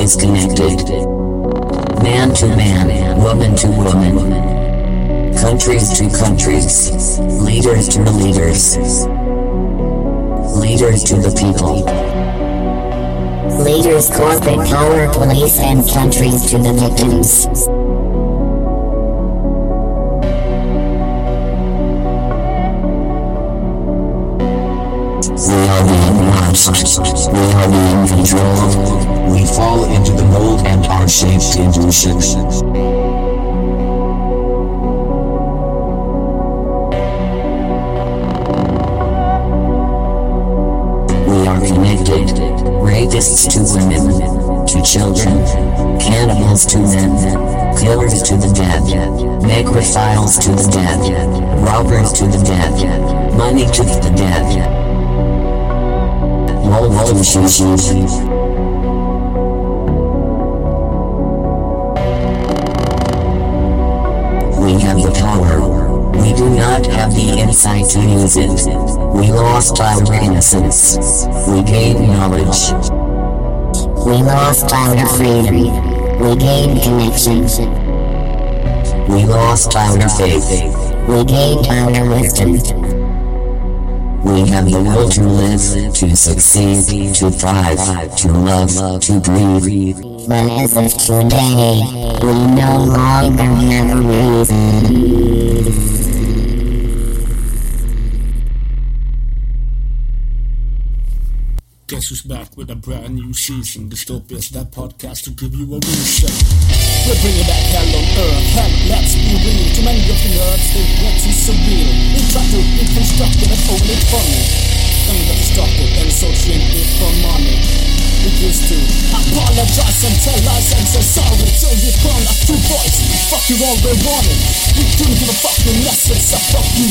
is connected. Man to man, woman to woman. Countries to countries. Leaders to the leaders. Leaders to the people. Leaders, corporate power, police, and countries to the victims. We are being watched. We are being controlled. We fall into the mold and are shaped into shape. We are connected. Rapists to women, to children, cannibals to men, killers to the dead, necrophiles to the dead, robbers to the dead, money to the dead. Roll, roll, shoot, shoot, shoot. We have the power. We do not have the insight to use it. We lost our innocence. We gained knowledge. We lost our freedom. We gained connection. We lost our faith. We gained our wisdom. We have the will to live, to succeed, to thrive, to love, to breathe. But as of today, we no longer have a reason. Guess who's back with a brand new season? Dystopia's that podcast to give you a reason. We're bringing back hell on earth. Hell, let's be real. Too many of the nerds think what is so real. They try to reconstruct it and only funny. Some of stop it and so drink it for money. We used to apologize and tell lies and say sorry till you burn like two boys. Fuck you all they wanted. We couldn't give a fucking lesson, so fuck you.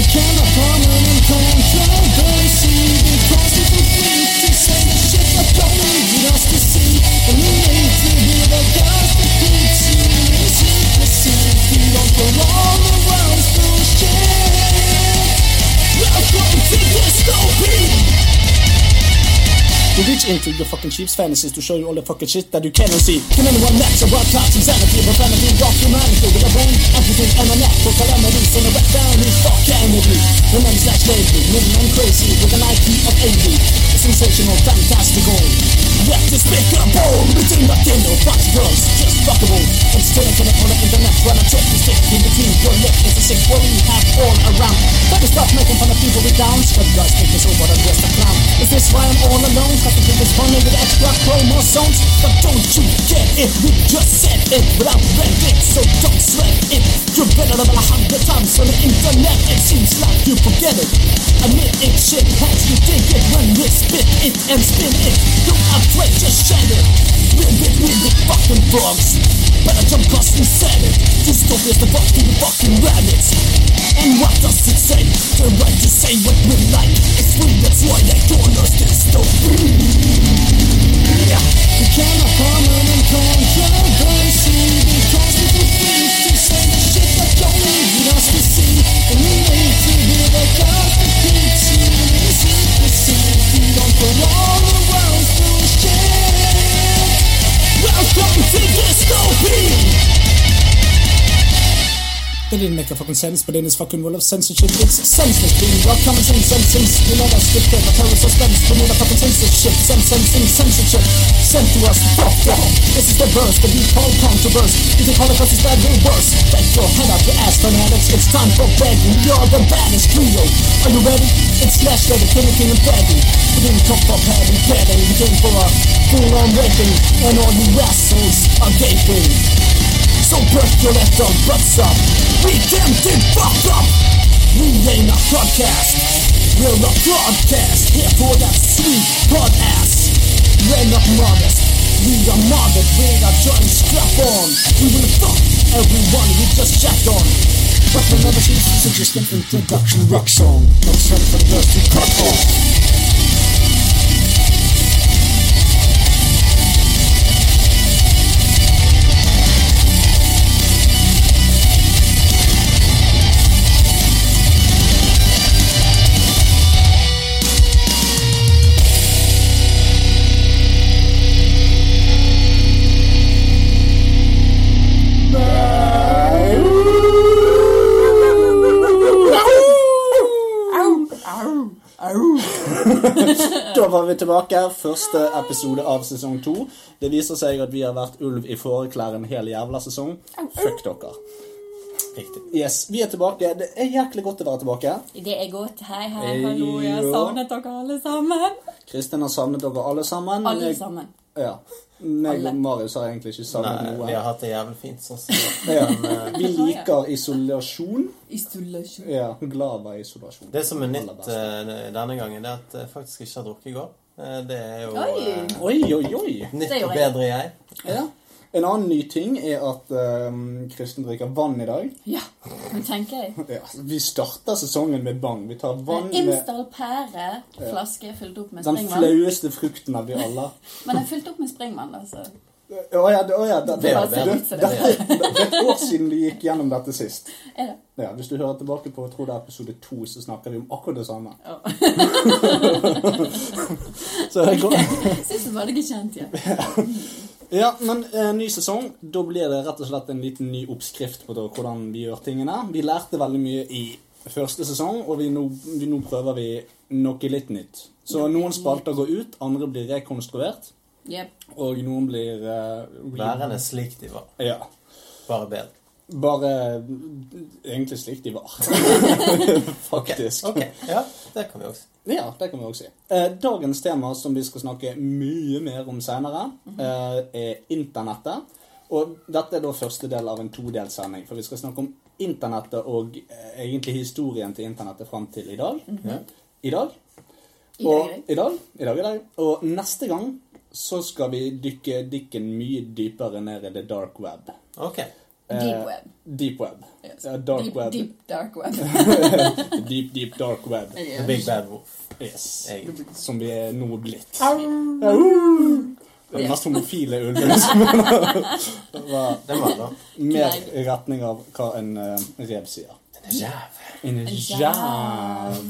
Became a permanent controversy because it's a thing to say the shit that don't need us to see. And we need to hear the guys that preach you in secrecy. You don't belong around school shit. Welcome to dystopia. You reach into your fucking sheep's fantasies to show you all the fucking shit that you cannot see. Can anyone match a broad class insanity, profanity, dark humanity with a brain, empathy, and a knack for calamities on a back down who's fucking with me? The men slash baby, living on crazy with an IQ of 80. A sensational, fantastical. Yet despicable, between the Kindle, Fox Bros, just fuckable. I'm still internet on the internet, when I check the stick in between your lip is a sick worry you have all around. Better stop making fun of people with downs, but guys make me so what I'm just a clown. Is this why I'm all alone? Got to keep this funny with extra chromosomes But don't you get it, we just said it Without read it, so don't sweat it You've been around a hundred times on the internet It seems like you forget it Admit it, shit has you think it When we spit it and spin it Don't afraid, just shed it We're with me with fucking frogs Better jump cause we said it This stuff is the fucking fucking rabbits And what does it say? The right to say what we like It's we, that's why they call us dystopia yeah. We cannot harm and controversy because we refuse to say the shit that don't need us to see. And we need to hear the God that keeps you in secrecy. You don't belong around bullshit. Welcome to dystopia. They didn't make a fucking sense, but in this fucking world of censorship, it's senseless. Being well, common sense, sense, sense. You know that's the thing. I tell suspense, but need a fucking censorship. Sense, sense, sense, censorship. Sent to us, fuck, fuck. This is the verse that we call controverse. You think Holocaust is bad, way worse. Get your head out your ass, fanatics. It's time for begging. You're the baddest trio. Are you ready? It's Slash Ready, Kenny King and Freddy. We didn't come for padding, padding. We came for a full-on raping. And all you assholes are gaping. So break your left on butts up We damn did fuck up We ain't a podcast We're a broadcast Here for that sweet hot ass We're not modest We are modded, we are joint strap on We will fuck everyone we just checked on But remember, this is just an introduction rock song. Not something else to cut off. Da var vi tilbake. Første episode av sesong to. Det viser seg at vi har vært ulv i fåreklær en hel jævla sesong. Fuck dere. Riktig. Yes, Vi er tilbake. Det er jæklig godt å være tilbake. Det er godt. Hei, hei, hallo. Jeg har Ja. savnet dere alle sammen. Kristin har savnet dere alle sammen. Alle Jeg- sammen. Ja. Meg Alle. og Marius har egentlig ikke savnet Nei, noe. vi har hatt det jævlig fint sånn som Ja. eh, Vi liker isolasjon. Isolasjon. Ja, glad i isolasjon. Det som er nytt best. eh, denne gangen, det er at jeg faktisk ikke har drukket i går. Eh, Det er jo Oi. eh, Oi, oi, oi. nytt Det gjorde og jeg. bedre jeg. Ja. En annen ny ting er at eh, Kristin drikker vann i dag. Ja, men tenker jeg. Ja, altså, vi starter sesongen med bang. Vi tar vann med Imsdal pære, flaske fylt opp med den springvann. flaueste frukten av de alle. Men den er fylt opp med springvann, altså. Å ja, det- å ja. Det, det, Det Bare var ser bedre. ut som det, det. det er et år siden vi gikk gjennom dette sist. Er det? Ja, hvis du hører tilbake på jeg tror det er episode to, så snakker vi om akkurat det samme. Ja. Så det går. Syns du var det ikke kjent igjen? Ja, men eh, ny sesong. Da blir det rett og slett en liten ny oppskrift på da, hvordan vi gjør tingene. Vi lærte veldig mye i første sesong, og vi nå, vi, nå prøver vi noe litt nytt. Så noen spalter går ut, andre blir rekonstruert, Jepp. og noen blir eh, re- Værende slik de var. Ja. Bare bedre. Bare egentlig slik de var. Faktisk. Ok, ja, det kan vi også. Ja, det kan vi også si. Eh, dagens tema, som vi skal snakke mye mer om senere, Mhm. eh, er internettet. Og dette er da første del av en todelssending, for vi skal snakke om internettet og eh, egentlig historien til internettet fram til i dag. I dag. Mhm. I Og, dag, i dag, i dag, i dag. Og neste gang så skal vi dykke dykken mye dypere ned i the dark web. Ok. Deep web. Deep web. Yes. Eh, Ja, dark deep, web. Deep dark web. Deep, deep dark web. The Big Bad Wolf. Yes. Egentlig. Som vi er nå blitt. Au! Det er den mest homofile ulven som var Det var da. mer i retning av hva en eh, rev sier. Jævlig. En jæv.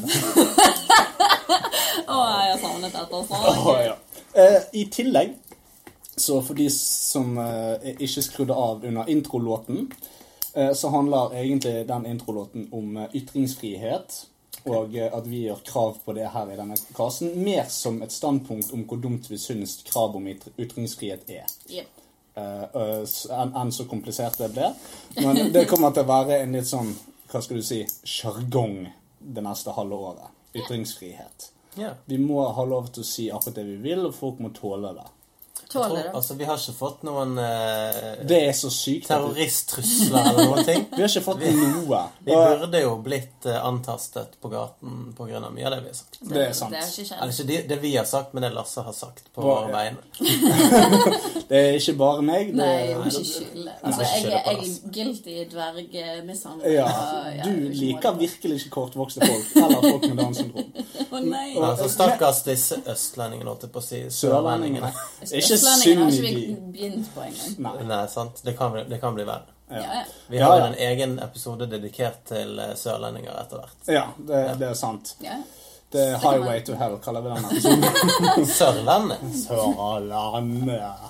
Å, jeg har savnet dette, Å, altså. ja. Eh, I tillegg, så for de som eh, ikke skrudde av under introlåten, eh, så handler egentlig den introlåten om eh, ytringsfrihet. Og eh, at vi gjør krav på det her i denne kasen. Mer som et standpunkt om hvor dumt vi syns krav om ytr- ytringsfrihet er. Jepp. Eh, eh, s- Enn enn så komplisert det ble. Men det kommer til å være en litt sånn, hva skal du si, sjargong det neste halve året. Ytringsfrihet. Ja. Vi må ha lov til å si akkurat det vi vil, og folk må tåle det. Tåler Tror- du? Altså, vi har ikke fått noen eh, Det er så sykt. At vi, terroristtrusler eller noen ting. vi har ikke fått noe. Vi Og burde jo blitt eh, antastet på gaten på grunn av mye av det vi har sagt. det er sant. Det er ikke Eller kjent. ikke Altså, det, det vi har sagt, men det Lasse har sagt på Bare- våre vegne. Det er ikke bare meg. Det Nei, jeg er, må ikke skylde. Altså, ikke jeg skylde er, på jeg oss. er guilty dvergmishandler. ja, du og- ja, jeg er ikke liker målet. virkelig ikke kortvokste folk. Eller folk med Downs syndrom. Å nei. Men Altså, Stakkars disse østlendingene, holdt jeg på å si. Sørlendingene. Sørlendingene. Ikke Østlendingen synd har i ikke de. vi begynt på engang. Nei. Nei, sant. Det kan, bli- det kan bli verre. Ja, ja. Vi Ja, har ja. en egen episode dedikert til eh, sørlendinger etter hvert. Ja, det, det er sant. ja. Det er Highway to Hell, kaller vi den episoden. Sørlandet! Sørlandet.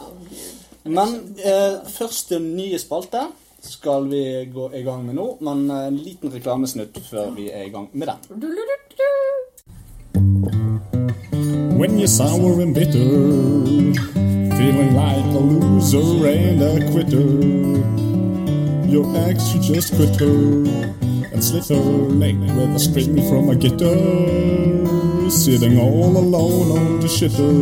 Men eh, første nye spalte skal vi gå i gang med nå, men eh, en liten reklamesnutt før vi er i gang med den. When you're sour and bitter, feeling like a loser and a quitter, your ex you just quit her and slit her neck with a string from a guitar, sitting all alone on the shitter.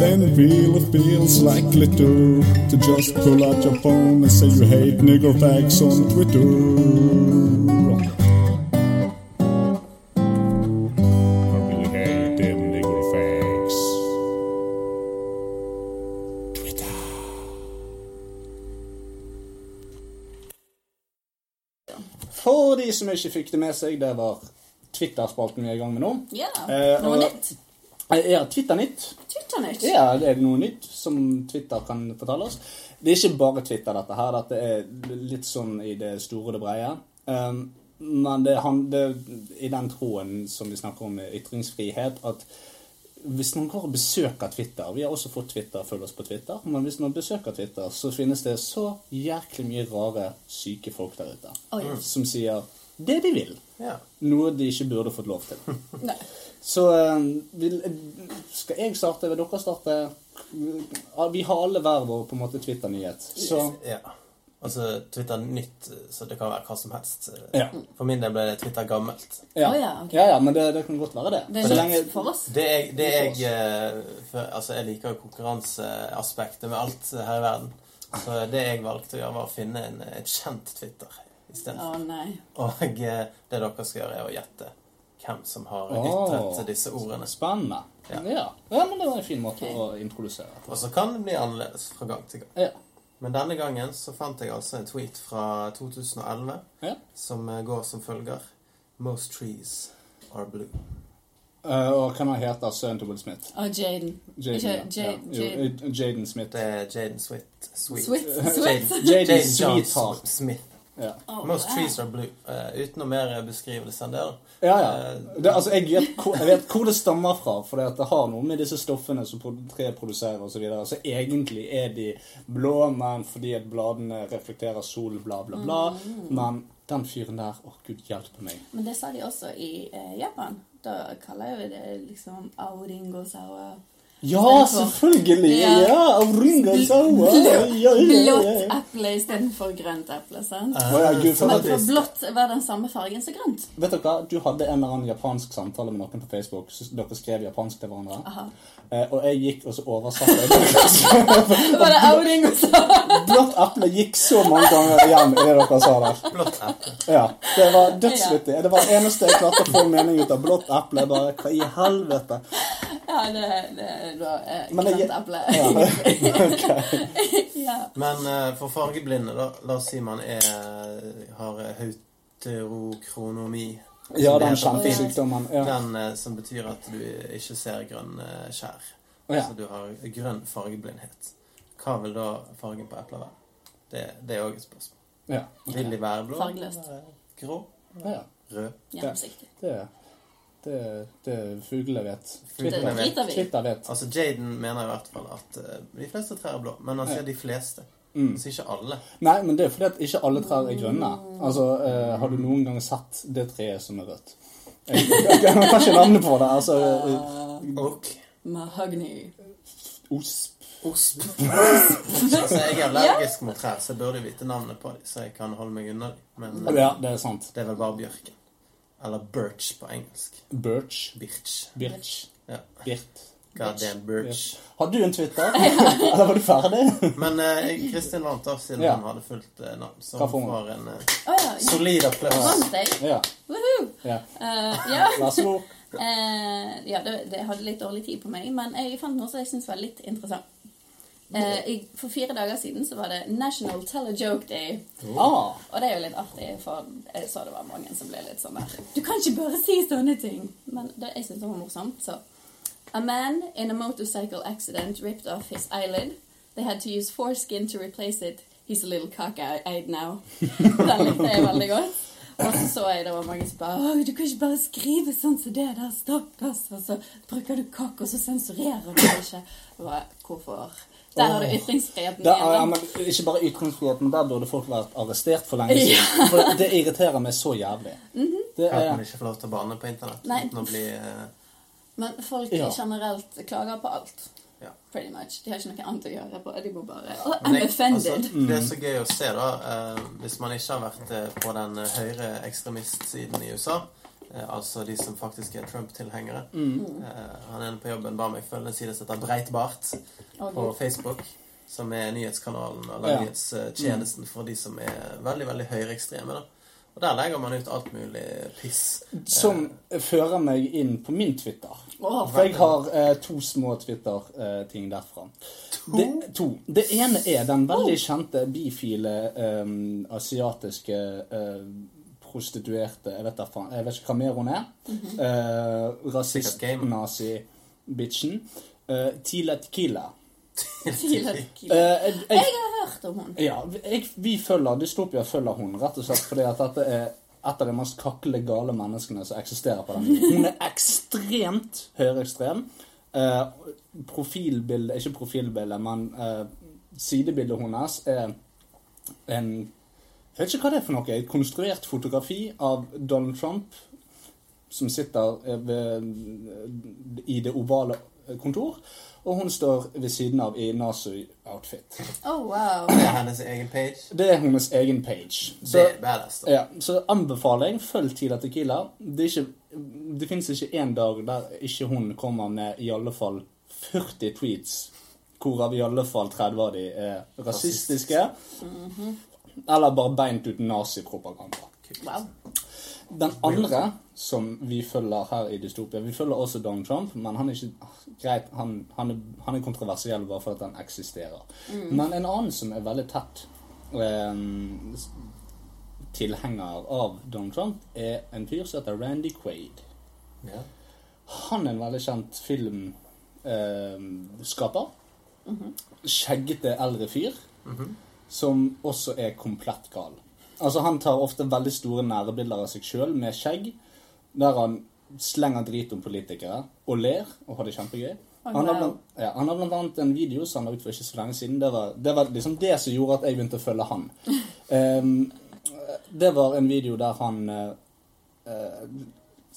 Then it really feels like glitter to just pull out your phone and say you hate nigger facts on Twitter. I really hate them nigger fags. Twitter. For de som ikke fikk det med seg, det var Twitter-spalten vi er i gang med nå. Ja. Eh, Noe og- nytt? Eh, Er det Twitter-nytt? Twitternytt? Ja, det er noe nytt som Twitter kan fortelle oss. Det er ikke bare Twitter, dette her. Dette er litt sånn i det store og det brede. Um, men det, han, det i den troen som vi snakker om med ytringsfrihet, at hvis noen går og besøker Twitter Vi har også fått Twitter, følg oss på Twitter. Men hvis noen besøker Twitter, så finnes det så jæklig mye rare, syke folk der ute. Oi. Som sier det de vil. Ja. Noe de ikke burde fått lov til. Nei. Så eh, vil, skal jeg starte, vil dere starte? Ja, Vi har alle hver vår på en måte Twitter-nyhet. Så Ja. Altså Twitter nytt, så det kan være hva som helst. Ja. For min del ble det Twitter gammelt. ja. Å ja, ok. ja, ja, men det, det kan godt være det. Det Så er lenge, nytt for oss. Det jeg, det jeg, eh, for, altså jeg liker jo konkurranseaspektet med alt her i verden. Så det jeg valgte å gjøre, var å finne en, et kjent Twitter Å istedenfor. nei. Og eh, det dere skal gjøre, er å gjette hvem som har Åh. ytret disse ordene. Spennende. Ja. Ja. Ja. men det var en fin måte Ok. å introdusere på. Og så kan det bli annerledes fra gang til gang. Ja. Men denne gangen så fant jeg altså en tweet fra 2011 ja. som eh, går som følger Most trees are blue. Eh, og hva han heter sønnen til Will Smith? Å, Jaden. Ikke Jaden, ja. Jade- Jo, Jade- eh, Jaden Smith. Det er Jaden Sweet. Sweet. Sweet. Jaden- Sweet. Jaden Jaden John Sweetheart. Smith. Ja. Å, Most wow. trees are blue. Eh, uten noe mer beskrivelse enn det, da. Ja, ja. Eh, Det, altså, jeg, vet hvor, jeg vet hvor det stammer fra, for det har noe med disse stoffene som pro- tre produserer osv. Så videre. så egentlig er de blå, men fordi at bladene reflekterer sol, bla, bla, bla. Mm. Men den fyren der, å gud hjelpe meg. Men det sa de også i eh, Japan. Da kaller vi det liksom auringosawa. Ja, Istedenfor- selvfølgelig! altså. Ja. Ja, Auringa Sawa! Ja, ja, ja, Blått ja. eple istedenfor grønt eple, sant? Å, ja, Gud, for Eh, sånn Men at, for blått var den samme fargen som grønt. vet dere hva? Du hadde en eller annen japansk samtale med noen på Facebook. Så dere skrev japansk til hverandre. Eh, og jeg gikk og så oversatte. jeg. Var det auringosawa? Blått eple gikk så mange ganger igjen i det dere sa der. Blått eple. Ja, det var dødsvittig. Det var det eneste jeg klarte å få mening ut av. Blått eple. Bare hva i helvete? Ja, det, det var eh, Men det- grønt eple. ja. Men eh, for fargeblinde, da la oss si man er, har hauterokronomi. Ja, som det heter på den kjente fint. sykdommen. Ja. Den eh, som betyr at du ikke ser grønne skjær. Å, ja. Så du har grønn fargeblindhet. Hva vil da fargen på epler være? Det, det er òg et spørsmål. Ja. Vil de være blå? Fargeløst. Være Grå? ja. Rød? Gjennomsiktig. Det det, det fuglene vet. Fuglene Twitter vet. vet. Twitter vet. Altså, Jaden mener i hvert fall at eh, de fleste trær er blå, men han sier de fleste. Mm. Han sier ikke alle. Nei, men det er fordi at ikke alle trær er grønne. Altså, eh, Har du noen gang sett det treet som er rødt? Jeg, jeg, jeg kan ikke navnet på det. Altså, eh, Ork. Mahogny. osp. Osp. altså, jeg er allergisk mot trær, så jeg burde vite navnet på dem, så jeg kan holde meg unna dem. Men eh, Ja, det er sant. det er vel bare bjørken. Eller birch på engelsk. Birch. Birch. Birch. Ja. Birt. God damn birch. Har du en Twitter? Eller var du ferdig? Men eh, Kristin vant da, siden Ja. hun hadde fullt eh, navn. Så Hva får hun hun? får en eh, Å ja. solid applaus. Vant jeg? Ja. Woohoo! ja. Eh, ja. Vær så god. Eh, ja, det, det hadde litt dårlig tid på meg, men jeg fant noe som jeg syns var litt interessant. Eh, i, for fire dager siden så var det National Tell a Joke Day. Ah, Og det er jo litt artig, for jeg så det var mange som ble litt sånn der Du kan ikke bare si sånne ting! Men det, jeg syns det var morsomt, så. A man in a motorcycle accident ripped off his eyelid. They had to use foreskin to replace it. He's a little cock-eyed now. Den likte jeg veldig godt. Og så så jeg det var mange som bare Åh, du kan ikke bare skrive sånn som det der, stakkars. Og så bruker du kakk, og så sensurerer du ikke. Jeg bare, Hvorfor? Der har du ytringsfriheten det er, ja, igjen. men da. ikke bare ytringsfrihet, men der burde folk vært arrestert for lenge siden. For det, det irriterer meg så jævlig. Det At man er, ikke får lov til å banne på internett Nei. uten å bli eh, Men folk Ja. generelt klager på alt. ja. Pretty much. De har ikke noe annet å gjøre. på De må bare «Åh, Men I'm jeg- offended. altså, det er så gøy å se, da, eh, hvis man ikke har vært eh, på den eh, høyre ekstremistsiden i USA, eh, altså de som faktisk er Trump-tilhengere eh, Han ene på jobben ba meg følge en side som heter Breitbart på Gud. Facebook, som er nyhetskanalen eller Ja. nyhetstjenesten for de som er veldig, veldig høyreekstreme. da. Og der legger man ut alt mulig piss. som fører meg inn på min Twitter. Åh, For jeg har eh, to små Twitter-ting derfra. Det, to. Oh. Det ene er den veldig kjente bifile eh, asiatiske eh, prostituerte Jeg vet, da faen, jeg vet ikke hva mer hun er. Eh, rasist, Sikkert gamer. nazi-bitchen. Eh, Tila Tequila. Tidligere. Eh, jeg, jeg, Jeg har hørt om hun. ja, jeg, vi følger Dystopia følger hun, rett og slett fordi at dette er et av de mest kakle gale menneskene som eksisterer på den jorden. Hun er ekstremt høyreekstrem. Eh, profilbildet Ikke profilbildet, men eh, sidebildet hennes er en Jeg vet ikke hva det er for noe. Et konstruert fotografi av Donald Trump som sitter eh, ved, i det ovale kontor, og hun står ved siden av i Nazi-outfit. Oh, wow. Det er hennes egen page. Det er hennes egen page. Så, Det er badass. da. ja, så anbefaling, følg Tila Tequila. Det, er ikke, det fins ikke én dag der ikke hun kommer med i alle fall 40 tweets, hvorav i alle fall 30 av de er rasistiske. Mhm. Eller bare beint ut nazipropaganda. wow. Den andre som vi følger her i Dystopia Vi følger også Donald Trump, men han er ikke ah, greit, han, han, er, han er kontroversiell bare fordi han eksisterer. Men en annen som er veldig tett eh, s- tilhenger av Donald Trump, er en fyr som heter Randy Quaid. Ja. Han er en veldig kjent filmskaper. Skjeggete eldre fyr som også er komplett gal. Altså Han tar ofte veldig store nærbilder av seg sjøl med skjegg, der han slenger drit om politikere og ler og har det kjempegøy. han, har wow. blant, ja, han har blant annet en video som han la ut for ikke så lenge siden. Det var, det var liksom det som gjorde at jeg begynte å følge han. Ehm, det var en video der han eh,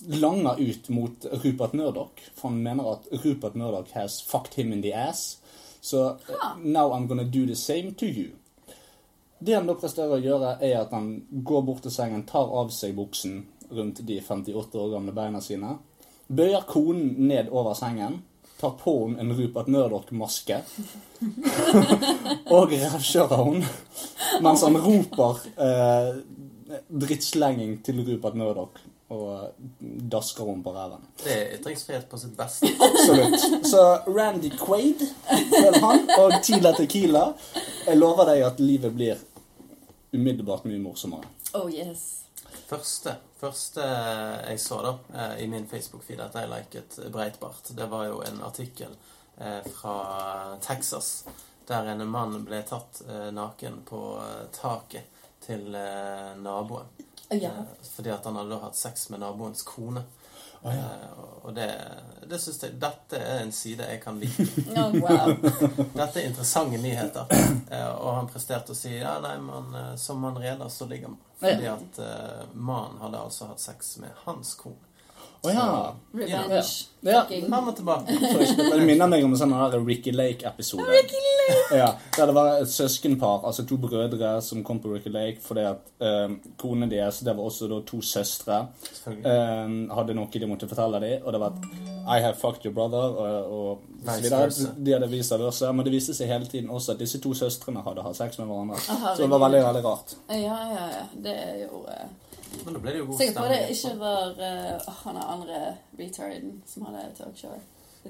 langer ut mot Rupert Murdoch, for han mener at Rupert Murdoch has fucked him in the ass. Så eh, now I'm gonna do the same to you. Det han da presterer å gjøre, er at han går bort til sengen, tar av seg buksen rundt de 58 år gamle beina sine, bøyer konen ned over sengen, tar på henne en Rupert Murdoch-maske og revkjører henne mens han roper eh, drittslenging til Rupert Murdoch og eh, dasker henne på ræven. Det er ytringsfrihet på sitt beste. Absolutt. Så Randy Quaid, vel han, og Tila Tequila. Jeg lover deg at livet blir umiddelbart mye morsommere. Oh, yes. Første, første jeg så da, eh, i min Facebook-feed at jeg liket Breitbart, det var jo en artikkel eh, fra Texas, der en mann ble tatt eh, naken på eh, taket til eh, naboen. Å, Oh, ja. Eh, Fordi at han hadde da hatt sex med naboens kone. Eh, og- Og det, det synes jeg Dette er en side jeg kan like. Oh, wow. Dette er interessante nyheter. Eh, og han presterte å si ja, nei, man, eh, som man reder, så ligger man. Fordi at eh, mannen hadde altså hatt sex med hans kone. Å ja. Revenge. Ja. Fucking- Han var tilbake. Det minner meg om en sånn der Ricky Lake-episode. Ja, der det var et søskenpar, altså to brødre, som kom på Ricky Lake fordi at eh, konene deres, det var også da to søstre, eh, hadde noe de måtte fortelle dem, og det var at I have fucked your brother, og, og så Vice videre. versa. De hadde vist seg versa, men det viste seg hele tiden også at disse to søstrene hadde hatt sex med hverandre. Så det var veldig, veldig rart. Ja, ja, ja. Det er jo eh, Men da ble det jo god Sikkert på det stemning. ikke var eh, åh, han er andre retarden som hadde talkshow.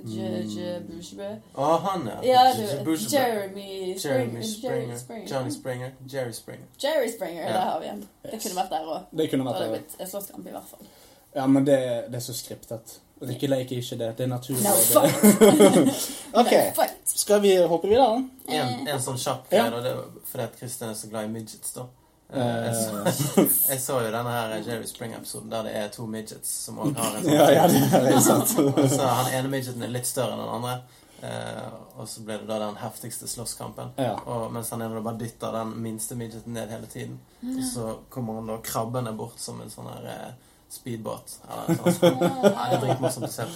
Je, je, Bouchebø. Å, han, Mm. ja. Ja, du, J- Bush- Jeremy Springer. Jeremy Springer. Johnny Springer. Jerry Springer. Jerry Springer, Ja. der har vi han. Det kunne vært der òg. Det kunne Da vært hadde det det. blitt en slåsskamp, i hvert fall. Ja, men det, det er så skriptet. Ricky Lake er ikke det. Det er naturlig. No Det- fight! Ok, No fight! skal vi hoppe videre? Eh. En, en sånn kjapp Ja. greie, da. Det var fordi at Kristin er så glad i midgets, da. Eh, Jeg så, jeg så jo denne her Jerry Springer-episoden der det er to midgets som også har en sånn Ja, ja, det er sant. Så han ene midgeten er litt større enn den andre. Eh, og så ble det da den heftigste slåsskampen. Ja. Og Mens han ene da bare dytter den minste midgeten ned hele tiden. Og så kommer han da krabbende bort som en sånn her eh, speedbåt. Eller noe sånt. Nei, sånn. det er dritmorsomt å se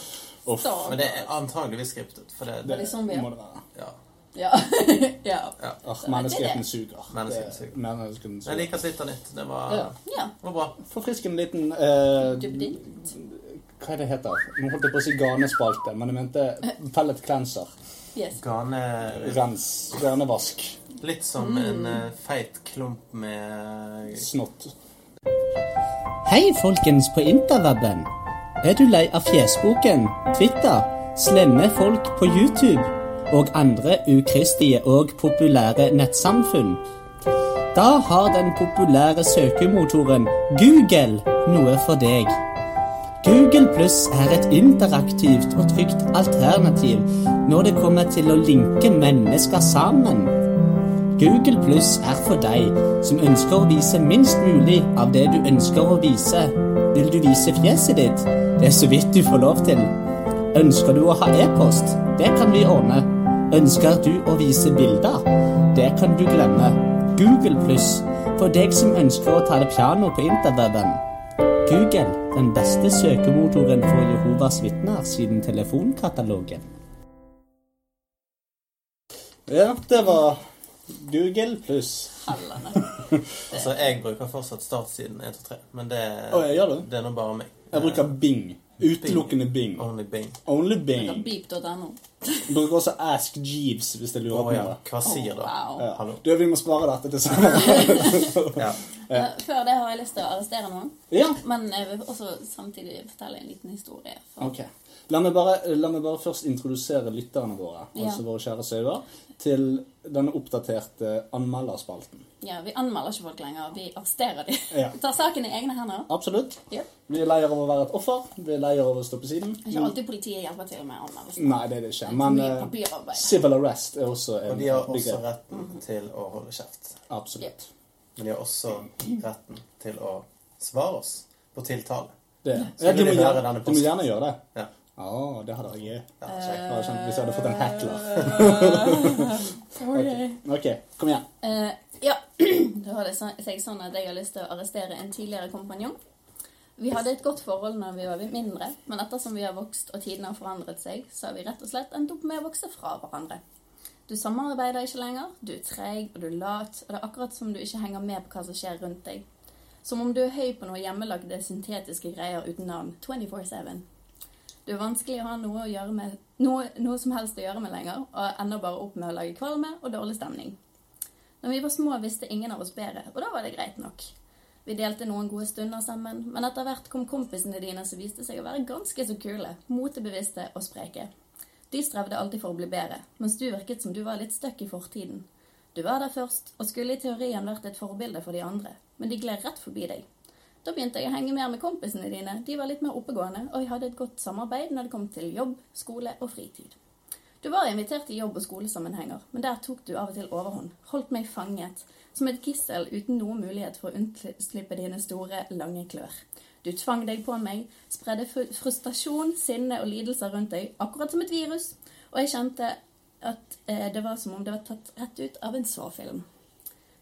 på. Men det er antageligvis skriptet. For det, Det er zombier. Må det være. ja. Ja. ja. Åh, menneskeheten suger. Menneskeheten Det- suger. Menneskeheten Jeg suger. liker at litt av nytt. Det var, Ja. ja. det var bra. Forfriskende liten eh, Duppeditt. Hva er det heter? Nå holdt jeg på å si ganespalte, men jeg mente pellet cleanser. Yes. Gane Rens. Vernevask. Litt som en eh, feit klump med Snott. Hei, folkens på interweben. Er du lei av fjesboken, Twitter, slemme folk på YouTube og andre ukristige og populære nettsamfunn? Da har den populære søkemotoren Google noe for deg. Google Pluss er et interaktivt og trygt alternativ når det kommer til å linke mennesker sammen. Google Pluss er for deg som ønsker å vise minst mulig av det du ønsker å vise. Vil du vise fjeset ditt? Det er så vidt du får lov til. Ønsker du å ha e-post? Det kan vi ordne. Ønsker du å vise bilder? Det kan du glemme. Google Pluss for deg som ønsker å ta det piano på interweben. Google, den beste søkemotoren for Jehovas vitner siden telefonkatalogen. Ja, det var Google pluss Hallene. Altså, jeg bruker fortsatt startsiden 123, men det, Å, jeg gjør det. det er nå bare meg. Jeg bruker Bing. Utelukkende Bing. Only Bing. Only Bing. Beep.no. Jeg bruker også Ask Jeeves hvis jeg lurer Å på ja. noe. Hva sier da? Wow. Ja. Hallo. Du, vi må spare dette til senere. Ja. Eh, Før det har jeg lyst til å arrestere noen. ja. Men jeg vil også samtidig fortelle en liten historie. For Ok. La meg, bare, la meg bare først introdusere lytterne våre, Ja. altså våre kjære sauer, til denne oppdaterte anmelderspalten. ja, Vi anmelder ikke folk lenger. Vi arresterer dem. Ja. Tar saken i egne hender. Absolutt. Ja. Vi er lei av å være et offer. Vi er lei av å stå på siden. Det er Ikke alltid politiet hjelper til med anmeldelsen. Nei, det er det ikke. Men Mye eh, papirarbeid. civil arrest er også en Og de har også begrep. retten til å holde kjeft. Absolutt. Men de har også retten til å svare oss på tiltale. Det. Så Ja, de, vil må de høre gjerne, denne de må gjerne gjøre det. Ja. Å, det hadde jeg gjort. Ja, kjekt. Det hadde kjent Hvis jeg hadde fått en hackler. Eh, Sorry. Ok, kom igjen. Eh, ja, da har det så- seg sånn at jeg har lyst til å arrestere en tidligere kompanjong. Vi hadde et godt forhold når vi var mindre, men ettersom vi har vokst og tidene har forandret seg, så har vi rett og slett endt opp med å vokse fra hverandre. Du samarbeider ikke lenger, du er treg og du er lat, og det er akkurat som du ikke henger med på hva som skjer rundt deg. Som om du er høy på noe hjemmelagde syntetiske greier uten navn 24-7. Du er vanskelig å ha noe, å gjøre med, noe, noe som helst å gjøre med lenger, og ender bare opp med å lage kvalme og dårlig stemning. Når vi var små, visste ingen av oss bedre, og da var det greit nok. Vi delte noen gode stunder sammen, men etter hvert kom kompisene dine som viste seg å være ganske så kule, motebevisste og spreke. De strevde alltid for å bli bedre, mens du virket som du var litt støkk i fortiden. Du var der først, og skulle i teorien vært et forbilde for de andre, men de gled rett forbi deg. Da begynte jeg å henge mer med kompisene dine, de var litt mer oppegående, og jeg hadde et godt samarbeid når det kom til jobb, skole og fritid. Du var invitert i jobb- og skolesammenhenger, men der tok du av og til overhånd. Holdt meg fanget, som et gissel uten noen mulighet for å unnslippe dine store, lange klør. Du tvang deg på meg, spredde fu- frustrasjon, sinne og lidelser rundt deg, akkurat som et virus, og jeg kjente at eh, det var som om det var tatt rett ut av en sårfilm.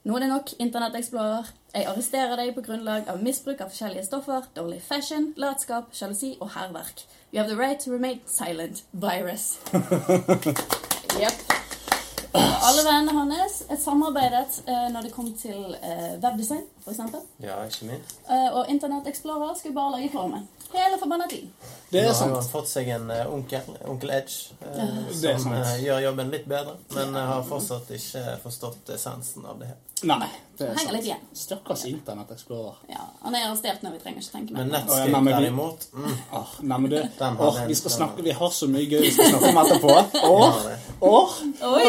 Nå er det nok, Internett Explorer. Jeg arresterer deg på grunnlag av misbruk av forskjellige stoffer, dårlig fashion, latskap, sjalusi og hærverk. You have the right to remain silent. Virus. Jepp. Alle vennene hans er samarbeidet eh, når det kom til eh, webdesign, f.eks. ja, ikke minst. Eh, og Internett Explorer skulle bare lage kvalme. Hele forbanna tiden. Det Nå er har sant. man fått seg en eh, onkel, onkel Edge, eh, Det er som sant. eh, gjør jobben litt bedre, men eh, har fortsatt ikke forstått eh, essensen av det hele. Nei, det er Henger litt sant. igjen. Stakkars Internett Explorer. Ja, Han er arrestert når vi trenger ikke tenke mer. Men på det. Å, Netscape ja, men vi- derimot mm, Åh, Ah, nei, men du, Den har åh, den, vi, skal den snakke, har- vi har så mye gøy vi skal snakke om etterpå. Åh, har det. åh, Oi!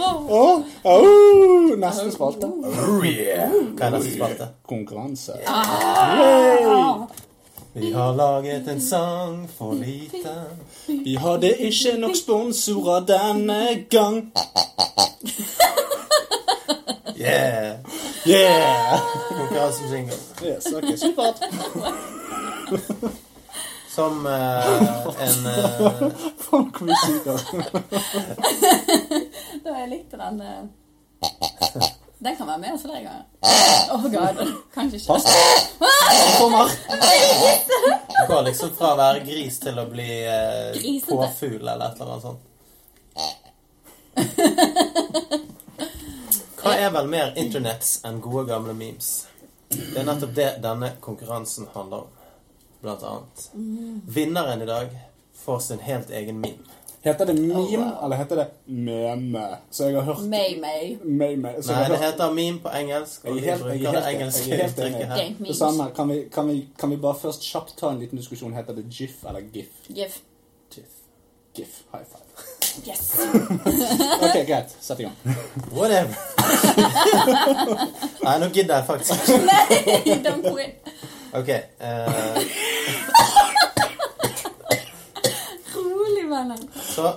åh, åh, neste spalte. Hva er neste spalte? Konkurranse. Vi har laget en sang for lite. Vi hadde ikke nok sponsorer denne gang. Yeah! Yeah! Konkurransejingle. Yes, ok, supert. Som eh, en eh, Faen, hvor vi syker. Da jeg likte den eh. Den kan være med altså, oss flere ganger. Oh god. Kanskje ikke. Kommer. Det går liksom fra å være gris til å bli eh, Grisete. påfugl eller et eller annet sånt. Hva er vel mer internetts enn gode gamle memes? Det er nettopp det denne konkurransen handler om, blant annet. Vinneren i dag får sin helt egen meme. Heter det meme, eller heter det meme? Så jeg har hørt May-May. meme. Så Nei, jeg har det hørt heter meme på engelsk, og Jeg vi er helt- jeg er bruker det helt- jeg engelske er helt enig. uttrykket her. Game det memes. samme. Kan vi, kan, vi, kan vi bare først kjapt ta en liten diskusjon? Heter det GIF eller GIF? Gif. GIF. GIF. High five. Yes. Ok, greit. Sett i gang. Whatever. Nei, nå gidder jeg faktisk ikke. Nei, don't quit. Ok. eh, Rolig, venner. så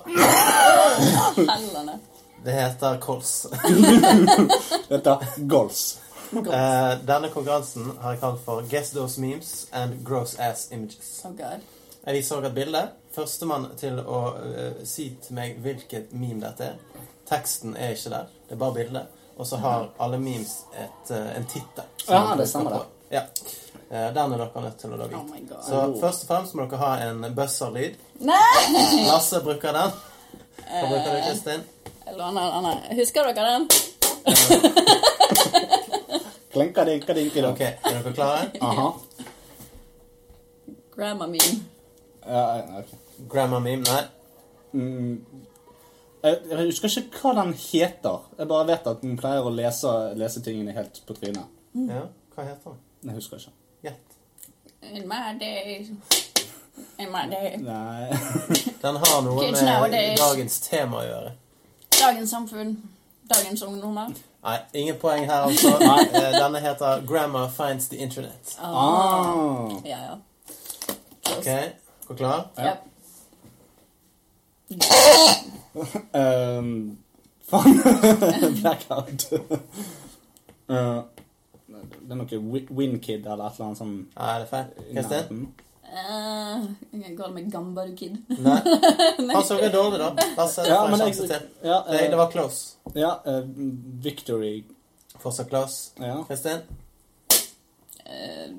Hellene. det heter kols. Dette goals. Eh, denne konkurransen har jeg kalt for Guess Those Memes and Gross Ass Images. Oh god. Jeg viser dere et bilde. Førstemann til å eh, si til meg hvilket meme dette er. Teksten er ikke der. Det er bare bildet. Og så har alle memes et, eh, en tittel. som Ja, dere det stemmer skal det. få. Ja. Eh, den er dere nødt til å lage. Oh my god. så først og fremst må dere ha en buzzer-lyd. Nei! Lasse bruker den. Hva bruker du, Kristin? Jeg låner den. Anna. Husker dere den? Klinka dinka dinka Ok, Er dere klare? Aha. Grandma meme. Ja, ja, ok. Grammar meme? Nei. Jeg, jeg husker ikke hva den heter. Jeg bare vet at den pleier å lese, lese tingene helt på trynet. Ja, hva heter den? Jeg husker ikke. Gjett. In my day. In my day. Nei. Den har noe Kids med nowadays. dagens tema å gjøre. Dagens samfunn. Dagens ungdommer. Nei, ingen poeng her, altså. Nei, eh, denne heter 'Grammar finds the internet'. Ah. Ja, ja. Ok, er du klar? Ja. Ehm, faen. Blackout. Eh, det er noe Wi- Winkid eller et eller annet sånn Nei, det er feil. i Kristin? nærheten. Eh, jeg kan kalle meg Gamba the Kid. Nei. Han så det dårlig, da. La oss se Ja, få en men sjanse jeg, til. ja, Nei, det eh, var close. ja eh, Victory Fortsatt close. Ja. Kristin? Eh,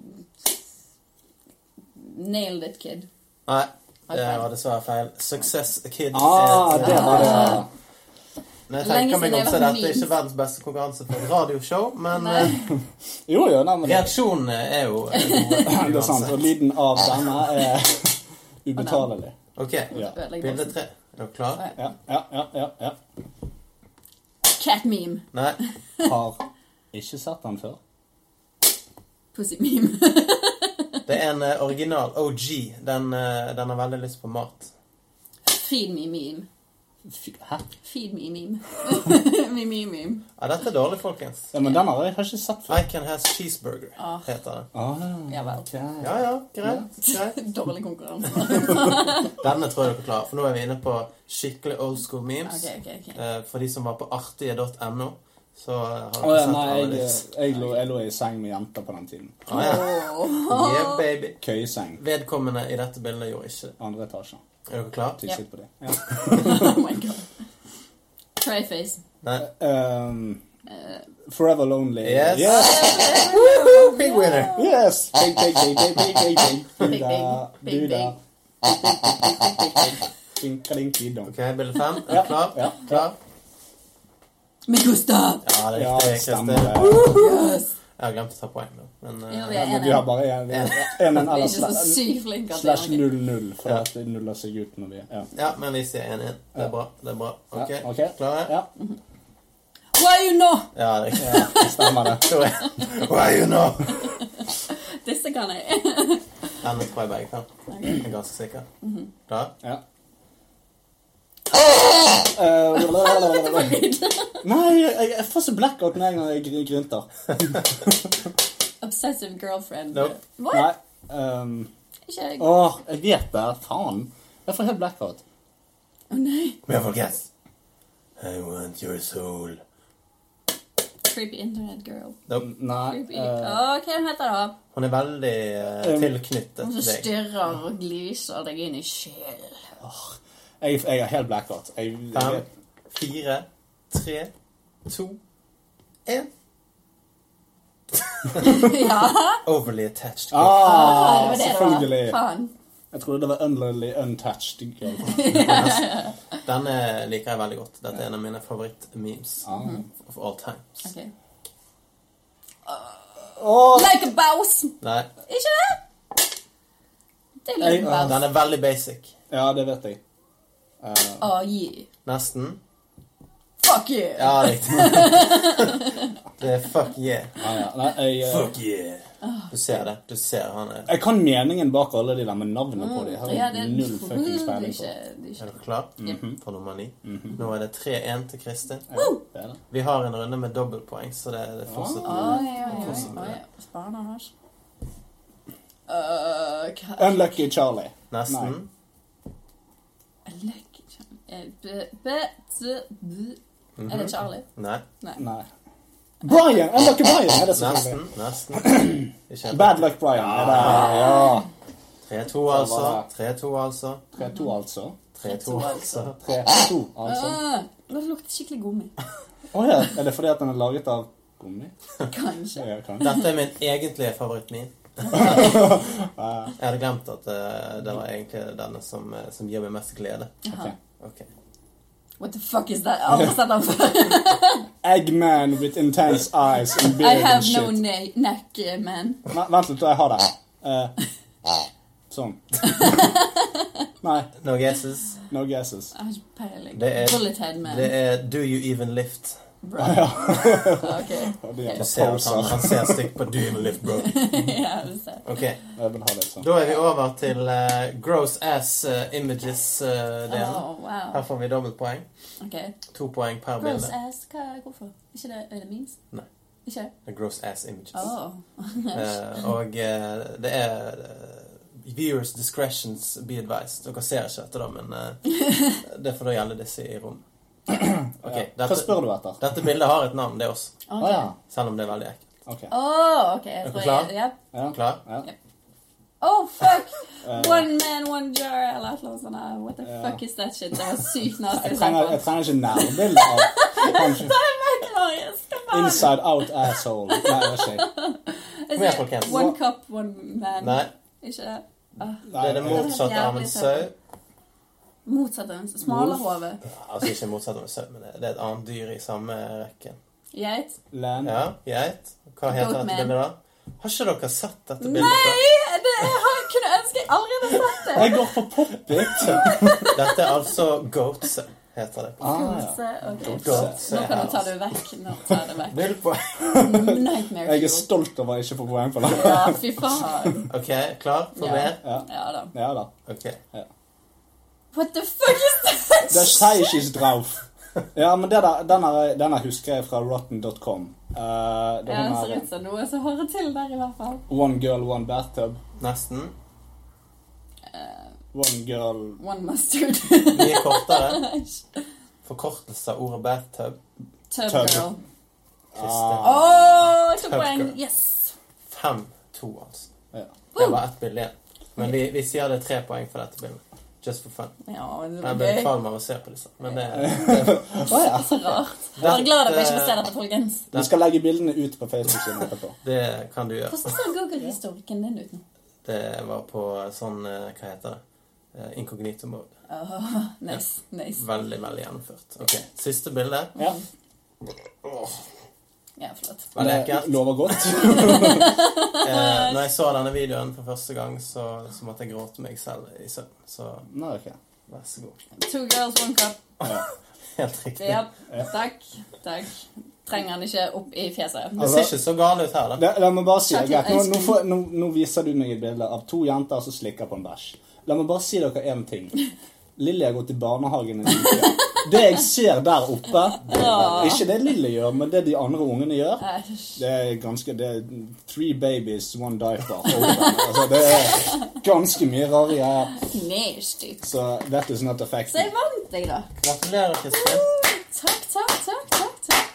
nailed it, kid. Nei. Nei, Det feil. var dessverre feil. Success Kids. Ah, det var det. Når jeg Lenge tenker meg siden om, jeg så er var dette ikke minst. verdens beste konkurranse for et radioshow, men Nei. eh, Jo, jo, nei, men det, reaksjonene er jo eh, det er sant. Og gode. lyden av denne er eh, ubetalelig. Ok, Ja. bilde tre. Er dere klare? Ja, ja, ja. ja, ja. Cat meme. Nei. Har ikke sett den før. Pussy meme. Det er en eh, original OG. Den, eh, den har veldig lyst på mat. Feed me meme. Fy- Hæ? Feed me meme. me meme meme. Ja, dette er dårlig, folkens. Ja, men den har jeg har ikke sett før. I can has cheeseburger, heter det. Ah, Ja vel. ok. Ja, ja, greit. greit. Dårlig konkurranse. Denne tror jeg dere klarer, for nå er vi inne på skikkelig old school memes. Ok, ok, ok. Eh, For de som var på artige.no, så eh, har dere Å ja, sett nei, alle jeg, disse. jeg, lå, jeg lå i seng med jenter på den tiden. Ah, ja. Yeah, baby. Køyeseng. Vedkommende i dette bildet gjorde ikke det. Andre etasje. Er dere klare? Fikk Ja. sitt på det. Ja. Oh my god. Tryface. Nei? Ehm, forever Lonely. Yes. Yes! Big winner! yes. Big, big, big, big, big, big, big. Big, Buda, big, big, buda. big. Dinka-dinki-dong. Ok, bilde fem. Er dere klar? ja, klar? Me gusta! Ja, det Ja, er riktig. det Kristin. stemmer. Yes! Jeg har glemt å ta poeng nå, men eh, Ja, vi er Men vi har enige. bare en- en en Vi er eller ikke så sla- sykt flinke at det slash er noe. 00, for Ja. at det nuller seg ut når vi ja. Ja, men vi sier 1-1. Det er bra. det er bra. Ok, Ja, ok. Klare? ja. Why you know? Ja, det er riktig. Stemmer det. Sorry. Why you know? Disse kan jeg. Denne tror jeg begge kan. Jeg er ganske sikker. Mhm. Klar? Ja. Eh, Nei, jeg, jeg får så blackout med en gang jeg gry- grynter. Obsessive girlfriend. Nope. What? Nei. ehm, Ikke jeg. Åh, jeg vet det. Faen. Jeg får helt blackout. Å nei. Men jeg får guess. I want your soul. Creepy internet girl. Nei. Creepy. eh, Å, Hva den heter da? Hun er veldig eh, tilknyttet Hun til som deg. stirrer og gliser deg inn i sjel. jeg, jeg er helt blackout. Jeg, Fem, jeg, fire, tre, to, én. Ja, Overly attached. ah, det var det det selvfølgelig. var. Faen. Jeg trodde det var Unlily Untouched. Girl. Denne eh, liker jeg veldig godt. Dette er en av mine favoritt-memes of all times. Ok. Åh, Like a bouse! Nei, Ikke det? Det er like Jeg- a bouse. den er veldig basic. ja, det vet jeg. Å, gi. Nesten. Fuck you! Ja, riktig. Det er fuck yeah. Ja, ja. Nei, jeg, eh, yeah. Du ser det. Du ser han er jeg kan meningen bak alle de der med navnet på dem. Jeg Ja, har det jeg er null fuckings det er peiling på. ikke, det Er er ikke. du klar for nummer ni? Nå er det 3-1 til Kristin. Det er det. Vi har en runde med dobbeltpoeng, så det det er fortsatt Oi, oi, oi. oi. Sparna hans. Øh, hva Unlucky Charlie. nesten. Lekk Eh, b- b- t- b- Er det Charlie? Nei. Nei. Brian! Unlucky Brian er det Nesten. selvfølgelig. Nesten. Ikke helt. Bad luck Brian er det. Ja. 3-2, altså. 3-2, altså. 3-2, altså. 3-2, altså. 3-2, altså. Øh, Det lukter skikkelig gummi. Å ja. Er det fordi at den er laget av gummi? Kanskje. Ja, kan. Dette er min egentlige favoritt min. Jeg hadde glemt at eh, det var egentlig denne som, eh, som gir meg mest glede. Jaha. Ok. What the fuck is that? Jeg har aldri sett den før. Eggman with intense eyes and I beard have and shit. no ne neck, eh, man. Nei, vent litt, jeg har det. Eh, sånn. Nei, No guesses. no guesses. Jeg har ikke peiling. Det er- Bullet head man. Det er Do You Even Lift. Bro. Ok. Og det er Du jævla ser at han, poser. han ser stygt på Do You Even Lift, bro. Ja, det ser jeg. Ok, Jeg vil ha litt sånn. Da er vi over til eh, Gross Ass eh, Images-delen. Åh, Oh, wow. Her får vi dobbeltpoeng. Ok. To poeng per Gross bilde. ass. Hva, hvorfor? Ikke det, er det memes? Nei. Ikke? Det er Gross Ass Images. Åh. Eh, og eh, det er eh, Viewers discretions be advised. Dere ser ikke etter det, men eh, det får da gjelde disse i rom. Ok, Hva dette, spør du etter? dette bildet har et navn, det er oss. Å ja. Selv om det er veldig ekkelt. Ok. Åh, ok. Jeg Er du tror klar? jeg, ja. Ja. Klar? Ja. Oh, fuck! One man, one jar, eller et eller annet sånt. her. What the Eh. Ja. fuck is that shit? Det var sykt nasty. Jeg trenger, jeg trenger ikke nærbilde av kanskje Inside out asshole. Nei, det er ikke jeg. Kom igjen, folkens. Altså, One cup, one man. Nei, Ikke det? Ah, Nei, det er det jeg- motsatte av en sau. Motsatt av en smalahove. Altså ikke motsatt av en sau, men det det er et annet dyr i samme rekken. Geit. Land. Ja, greit. Hva heter dette Goatman. bildet, da? Har ikke dere sett dette Nei! bildet? før? Det jeg har, kunne ønske jeg aldri hadde sett det. Jeg går for pop-it. Dette er altså Goats, heter det. Ah, ja. Så, ok. Goats Nå er kan du ta her. det vekk. Nå tar jeg det vekk. Null poeng. Nightmare Jeg er fuel. stolt over å ikke få poeng for det. Ja, fy faen. OK, klar for Ja. mer? Ja da. Ja da. Ok. What the fuck is that? Det er Seichis-drauf. Ja, men det der, den, her, den her husker jeg fra rotten.com. Uh, Ja, ja, det ser ut som noe som hører til der, i hvert fall. One girl, one bathtub. Nesten. One girl One mustard. Mye kortere. Forkortelse av ordet bathtub. Tub Tub. girl. Kristin. Ah. Åh, to Tub poeng. girl. Yes. 5-2, altså. ja. Det var ett bilde igjen. Men vi, vi sier det er tre poeng for dette bildet. Just for fun. Ja, det Jeg var ble gøy. kvalm av å se på disse. Men det, Å, ja. Så rart. Jeg var glad dere ikke får se Dette- dette, folkens. Vi skal legge bildene ut på Facebook-siden etterpå. det kan du gjøre. Hvordan ser Google-historikken din ut nå? Det var på sånn eh, Hva heter det? Eh, Inkognito mode. Nice, nice. Veldig, veldig gjennomført. Ok, Siste bilde. Ja. Ja, flott. Veldig ekkelt. Lover godt. Eh, når jeg så denne videoen for første gang, så, så måtte jeg gråte meg selv i søvn. Så Nei, ok. vær så god. Two girls, one cup. Helt riktig. Ja, takk. Takk. Trenger han ikke opp i fjeset. Det Altså- ser ikke så galt ut her, da. La, la meg bare si det. Chocolate Greit, Nå, ice nå, cream. får, nå, nå viser du meg et bilde av to jenter som slikker på en bæsj. La meg bare si dere én ting. Lilly har gått i barnehagen en uke. Det jeg ser der oppe Ikke det Lilly gjør, men det de andre ungene gjør. Ah. Æsj. Det er ganske det er Three babies, one diaper. Altså, det er ganske mye rare greier. Nasty. Så sånn that is not affecting. Så jeg vant, jeg, da. Gratulerer, Kristin. Takk, takk, takk, takk. takk.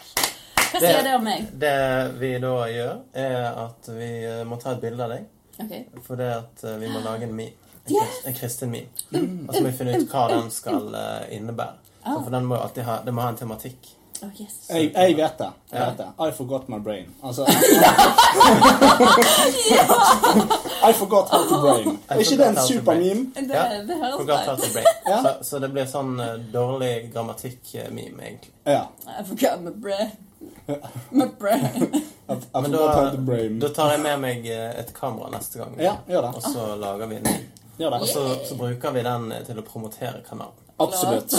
Hva sier det om meg? Det vi da gjør, er at vi eh, må ta et bilde av deg. Ok. For det at eh, vi må lage en meme. En kris- En Kristin meme. Og så må vi finne ut hva den skal eh, innebære. For den må jo alltid ha, det må ha en tematikk. Oh, yes. Jeg, jeg vet det. Jeg vet det. I forgot my brain. Altså I forgot how to brain. Er ikke det en how to super brain. meme? Det, Ja. det høres Forgot bra how ut. to break. Så, så det blir sånn eh, dårlig grammatikk-meme, egentlig. Ja. I forgot my bread. My bread. I, I Men forgot how da, to brain. da tar jeg med meg eh, et kamera neste gang. Ja, gjør det. Og så lager vi en ny. Gjør det. Så, så bruker vi den eh, til å promotere kanalen. Absolutt.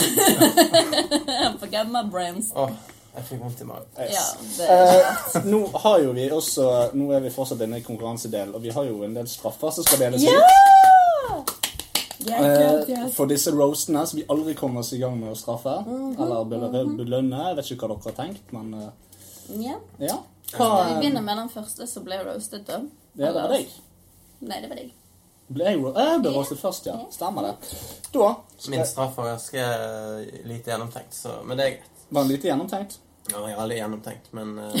For gamma brands. Åh, jeg fikk vondt i magen. Ja, Yes. det Eh, nå har jo vi også Nå er vi fortsatt inne i konkurransedelen, og vi har jo en del straffer som skal deles ut. Ja, Eh, klart, yes. for disse roastene som vi aldri kommer oss i gang med å straffe, eller belø- belønne. Jeg vet ikke hva dere har tenkt, men eh, ja. ja. Vi Hva, begynner med den første som ble roasted, da. ja, det var deg. Nei, det var deg. Ble jeg ro eh, ble roastet først, ja. Stemmer det. Da skal Min jeg- straff var ganske eh, lite gjennomtenkt, så Men det er greit. var den lite gjennomtenkt. Ja, jeg er aldri gjennomtenkt, men eh,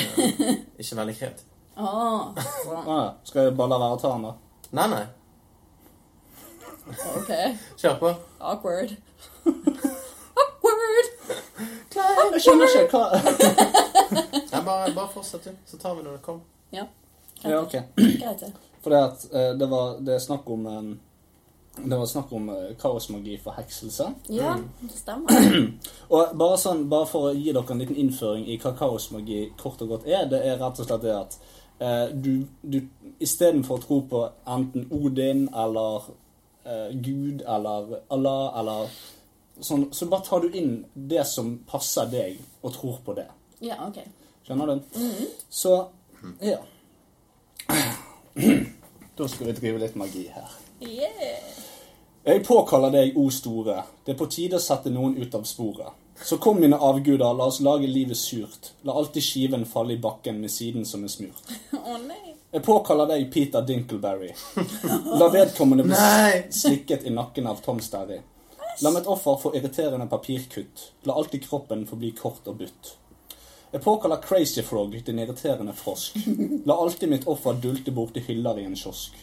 ikke veldig kreativ. Åh, Ah, skal jeg bare la være å ta den, da? Nei, nei. ok. Kjør på. Awkward. Awkward! Ah, Jeg skjønner ikke hva Nei, bare, bare fortsett, du. Så tar vi når det kommer. Ja, Ja, ok. greit det. Fordi at eh, det var det er snakk om eh, det var snakk om eh, kaosmagi for hekselse. Ja, Mm. det stemmer. Og bare, sånn, bare for å gi dere en liten innføring i hva kaosmagi kort og godt er, det er rett og slett det at eh, du, du istedenfor å tro på enten Odin eller eh, Gud eller Allah eller sånn, så bare tar du inn det som passer deg, og tror på det. Ja, ok. Skjønner du? Så ja. Da skal vi drive litt magi her. Yeah! Jeg påkaller deg, O store. Det er på tide å sette noen ut av sporet. Så kom, mine avguder, la oss lage livet surt. La alltid skiven falle i bakken med siden som er smurt. Å nei. Jeg påkaller deg Peter Dinkleberry. La vedkommende Nei! bli slikket i nakken av Tom Sterry. La mitt offer få irriterende papirkutt. La alltid kroppen få bli kort og butt. Jeg påkaller Crazy Frog, din irriterende frosk. La alltid mitt offer dulte borti hyller i en kiosk.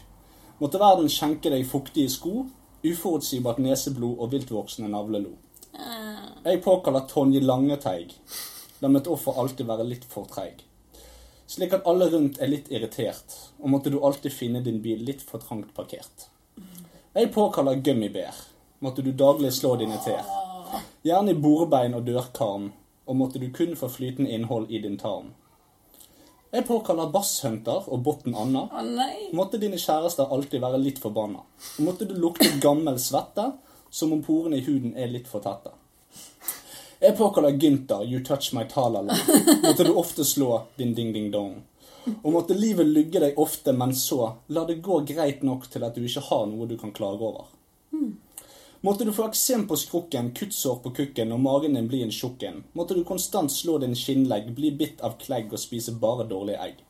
Måtte verden skjenke deg fuktige sko, uforutsigbart neseblod og viltvoksende navlelo. Jeg påkaller Tonje Langeteig. La mitt offer alltid være litt for treig. Slik at alle rundt er litt irritert, og måtte du alltid finne din bil litt for trangt parkert. Jeg påkaller gummibær. Måtte du daglig slå dine tær. Gjerne i bordbein og dørkarm, og måtte du kun få flytende innhold i din tarm. Jeg påkaller basshunter og botten Anna. Å nei. Måtte dine kjærester alltid være litt forbanna. Og måtte du lukte gammel svette, som om porene i huden er litt for tette. Jeg påkaller Gynter, you touch my talala. Måtte du ofte slå din ding-ding-dong. Og måtte livet lugge deg ofte, men så la det gå greit nok til at du ikke har noe du kan klage over. Måtte du få eksem på skrukken, kuttsår på kukken og magen din bli en tjukken. Måtte du konstant slå din skinnlegg, bli bitt av klegg og spise bare dårlige egg.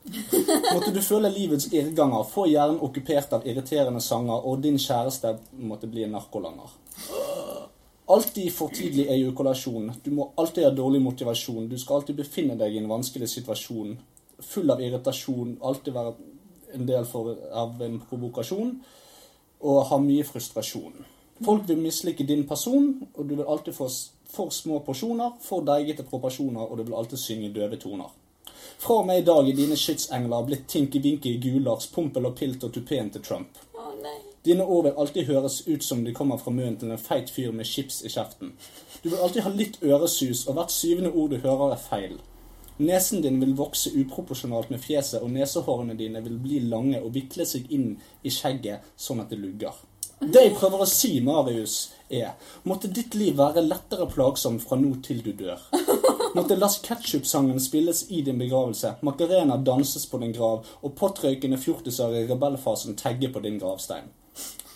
Måtte du føle livets irrganger, få hjernen okkupert av irriterende sanger, og din kjæreste måtte bli en narkolanger. Alltid for tidlig ejakulasjon. Du må alltid ha dårlig motivasjon. Du skal alltid befinne deg i en vanskelig situasjon. Full av irritasjon. Alltid være en del for, av en provokasjon. Og ha mye frustrasjon. Folk vil mislike din person, og du vil alltid få s- for små porsjoner, for deigete proporsjoner, og du vil alltid synge døve toner. Fra og med i dag er dine skytsengler blitt Tinky-Winky, Gulars, Pompel og Pilt og tupeen til Trump. Å nei. Dine ord vil alltid høres ut som de kommer fra munnen til en feit fyr med chips i kjeften. Du vil alltid ha litt øresus, og hvert syvende ord du hører, er feil. Nesen din vil vokse uproporsjonalt med fjeset, og nesehårene dine vil bli lange og vikle seg inn i skjegget sånn at det lugger. Det jeg prøver å si, Marius, er måtte ditt liv være lettere plagsomt fra nå til du dør. Måtte Last Ketchup-sangen spilles i din begravelse, Macarena danses på din grav, og pottrøykende fjortiser i rebellfasen tagge på din gravstein.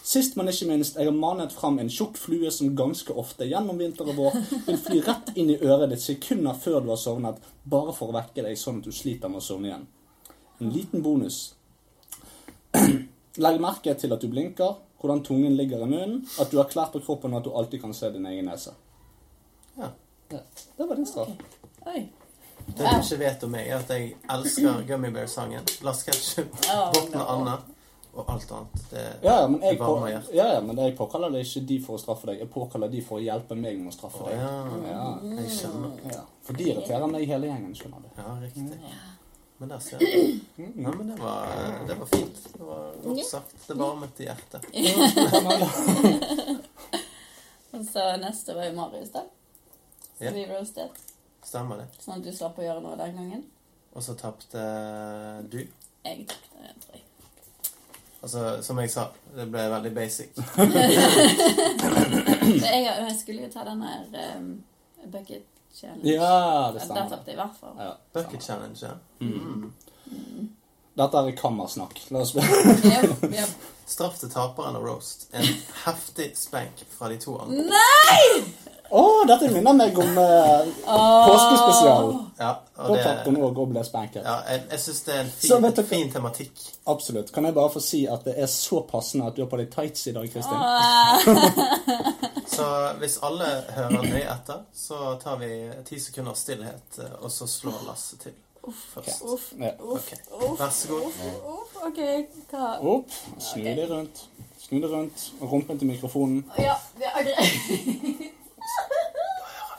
Sist, men ikke minst, jeg har manet fram en tjukk flue som ganske ofte gjennom vinter og vår vil fly rett inn i øret ditt sekunder før du har sovnet, bare for å vekke deg sånn at du sliter med å sovne igjen. En liten bonus. Legg merke til at du blinker, hvordan tungen ligger i munnen, at du har klær på kroppen og at du alltid kan se din egen nese. Ja. Ja, det var din straff. Oi. Det du ikke vet om meg, er at jeg elsker Gummy Bear-sangen. Lars Ketchup, Å, Botten og no. Anna og alt annet. Det, Ja, ja, men jeg, det varmer på, ja, hjertet. ja, men jeg påkaller det ikke de for å straffe deg, jeg påkaller de for å hjelpe meg med å straffe deg. Ja, jeg skjønner. Ja. For de irriterer meg hele gjengen, skjønner du. Ja, riktig. Men der ser jeg. Ja, men det var, det var fint. Det var godt sagt. Det varmet i hjertet. Og så neste var jo Marius, da. Som Ja. vi roasted. Stemmer det. Sånn at du slapp å gjøre noe den gangen. Og så tapte eh, du. Jeg tok den, tror jeg. Altså, som jeg sa, det ble veldig basic. Så jeg, jeg skulle jo ta den her um, bucket challenge. Ja, det ehm, Der stemmer. tapte jeg i hvert fall. Ja, Bucket challenge, ja. Dette er kammersnakk. La oss Ja, ja. Straff til taperen av roast. En heftig spank fra de to andre. Nei! Å, dette minner meg om eh, påskespesial. Ja, og Da det, tapte hun òg og ble spanket. ja, jeg, jeg syns det er en Så fin, vet dere- fin tematikk. Absolutt. Kan jeg bare få si at det er så passende at du har på deg tights i dag, Kristin? Så hvis alle hører nøye etter, så tar vi ti sekunder stillhet, eh, og så slår Lasse til først. Uff, Ja. uff, Ok. uff, Vær så god. uff. OK, hva Opp, snu deg rundt. Snu deg rundt. og Rumpen til mikrofonen. Ja, vi er greit. hører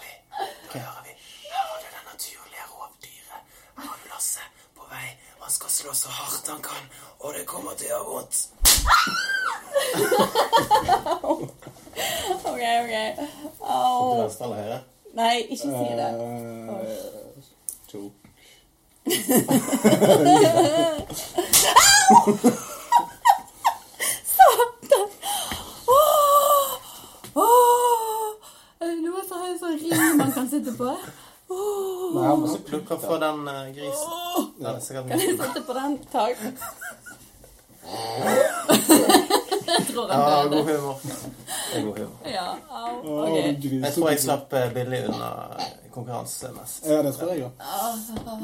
vi. Nå hører vi. Hører du det naturlige rovdyret? Her har du Lasse på vei. Han skal slå så hardt han kan, og det kommer til å gjøre vondt. OK, OK. Au. venstre eller høyre? Nei, ikke si det. Eh, to. Satan! Åh! Åh! Er det noe så høy sånn ring man kan sitte på? Åh! Nei, han må se- Plukk opp for den eh, grisen. Den er sikkert Kan jeg mye. sitte på den? Takk. Jeg tror Ja, han god døde. humor. Det er god humor. Ja, au. Å, Ok. du Jeg tror jeg griser. slapp eh, billig unna eh, konkurransemessig. Eh. Ja, det tror jeg òg.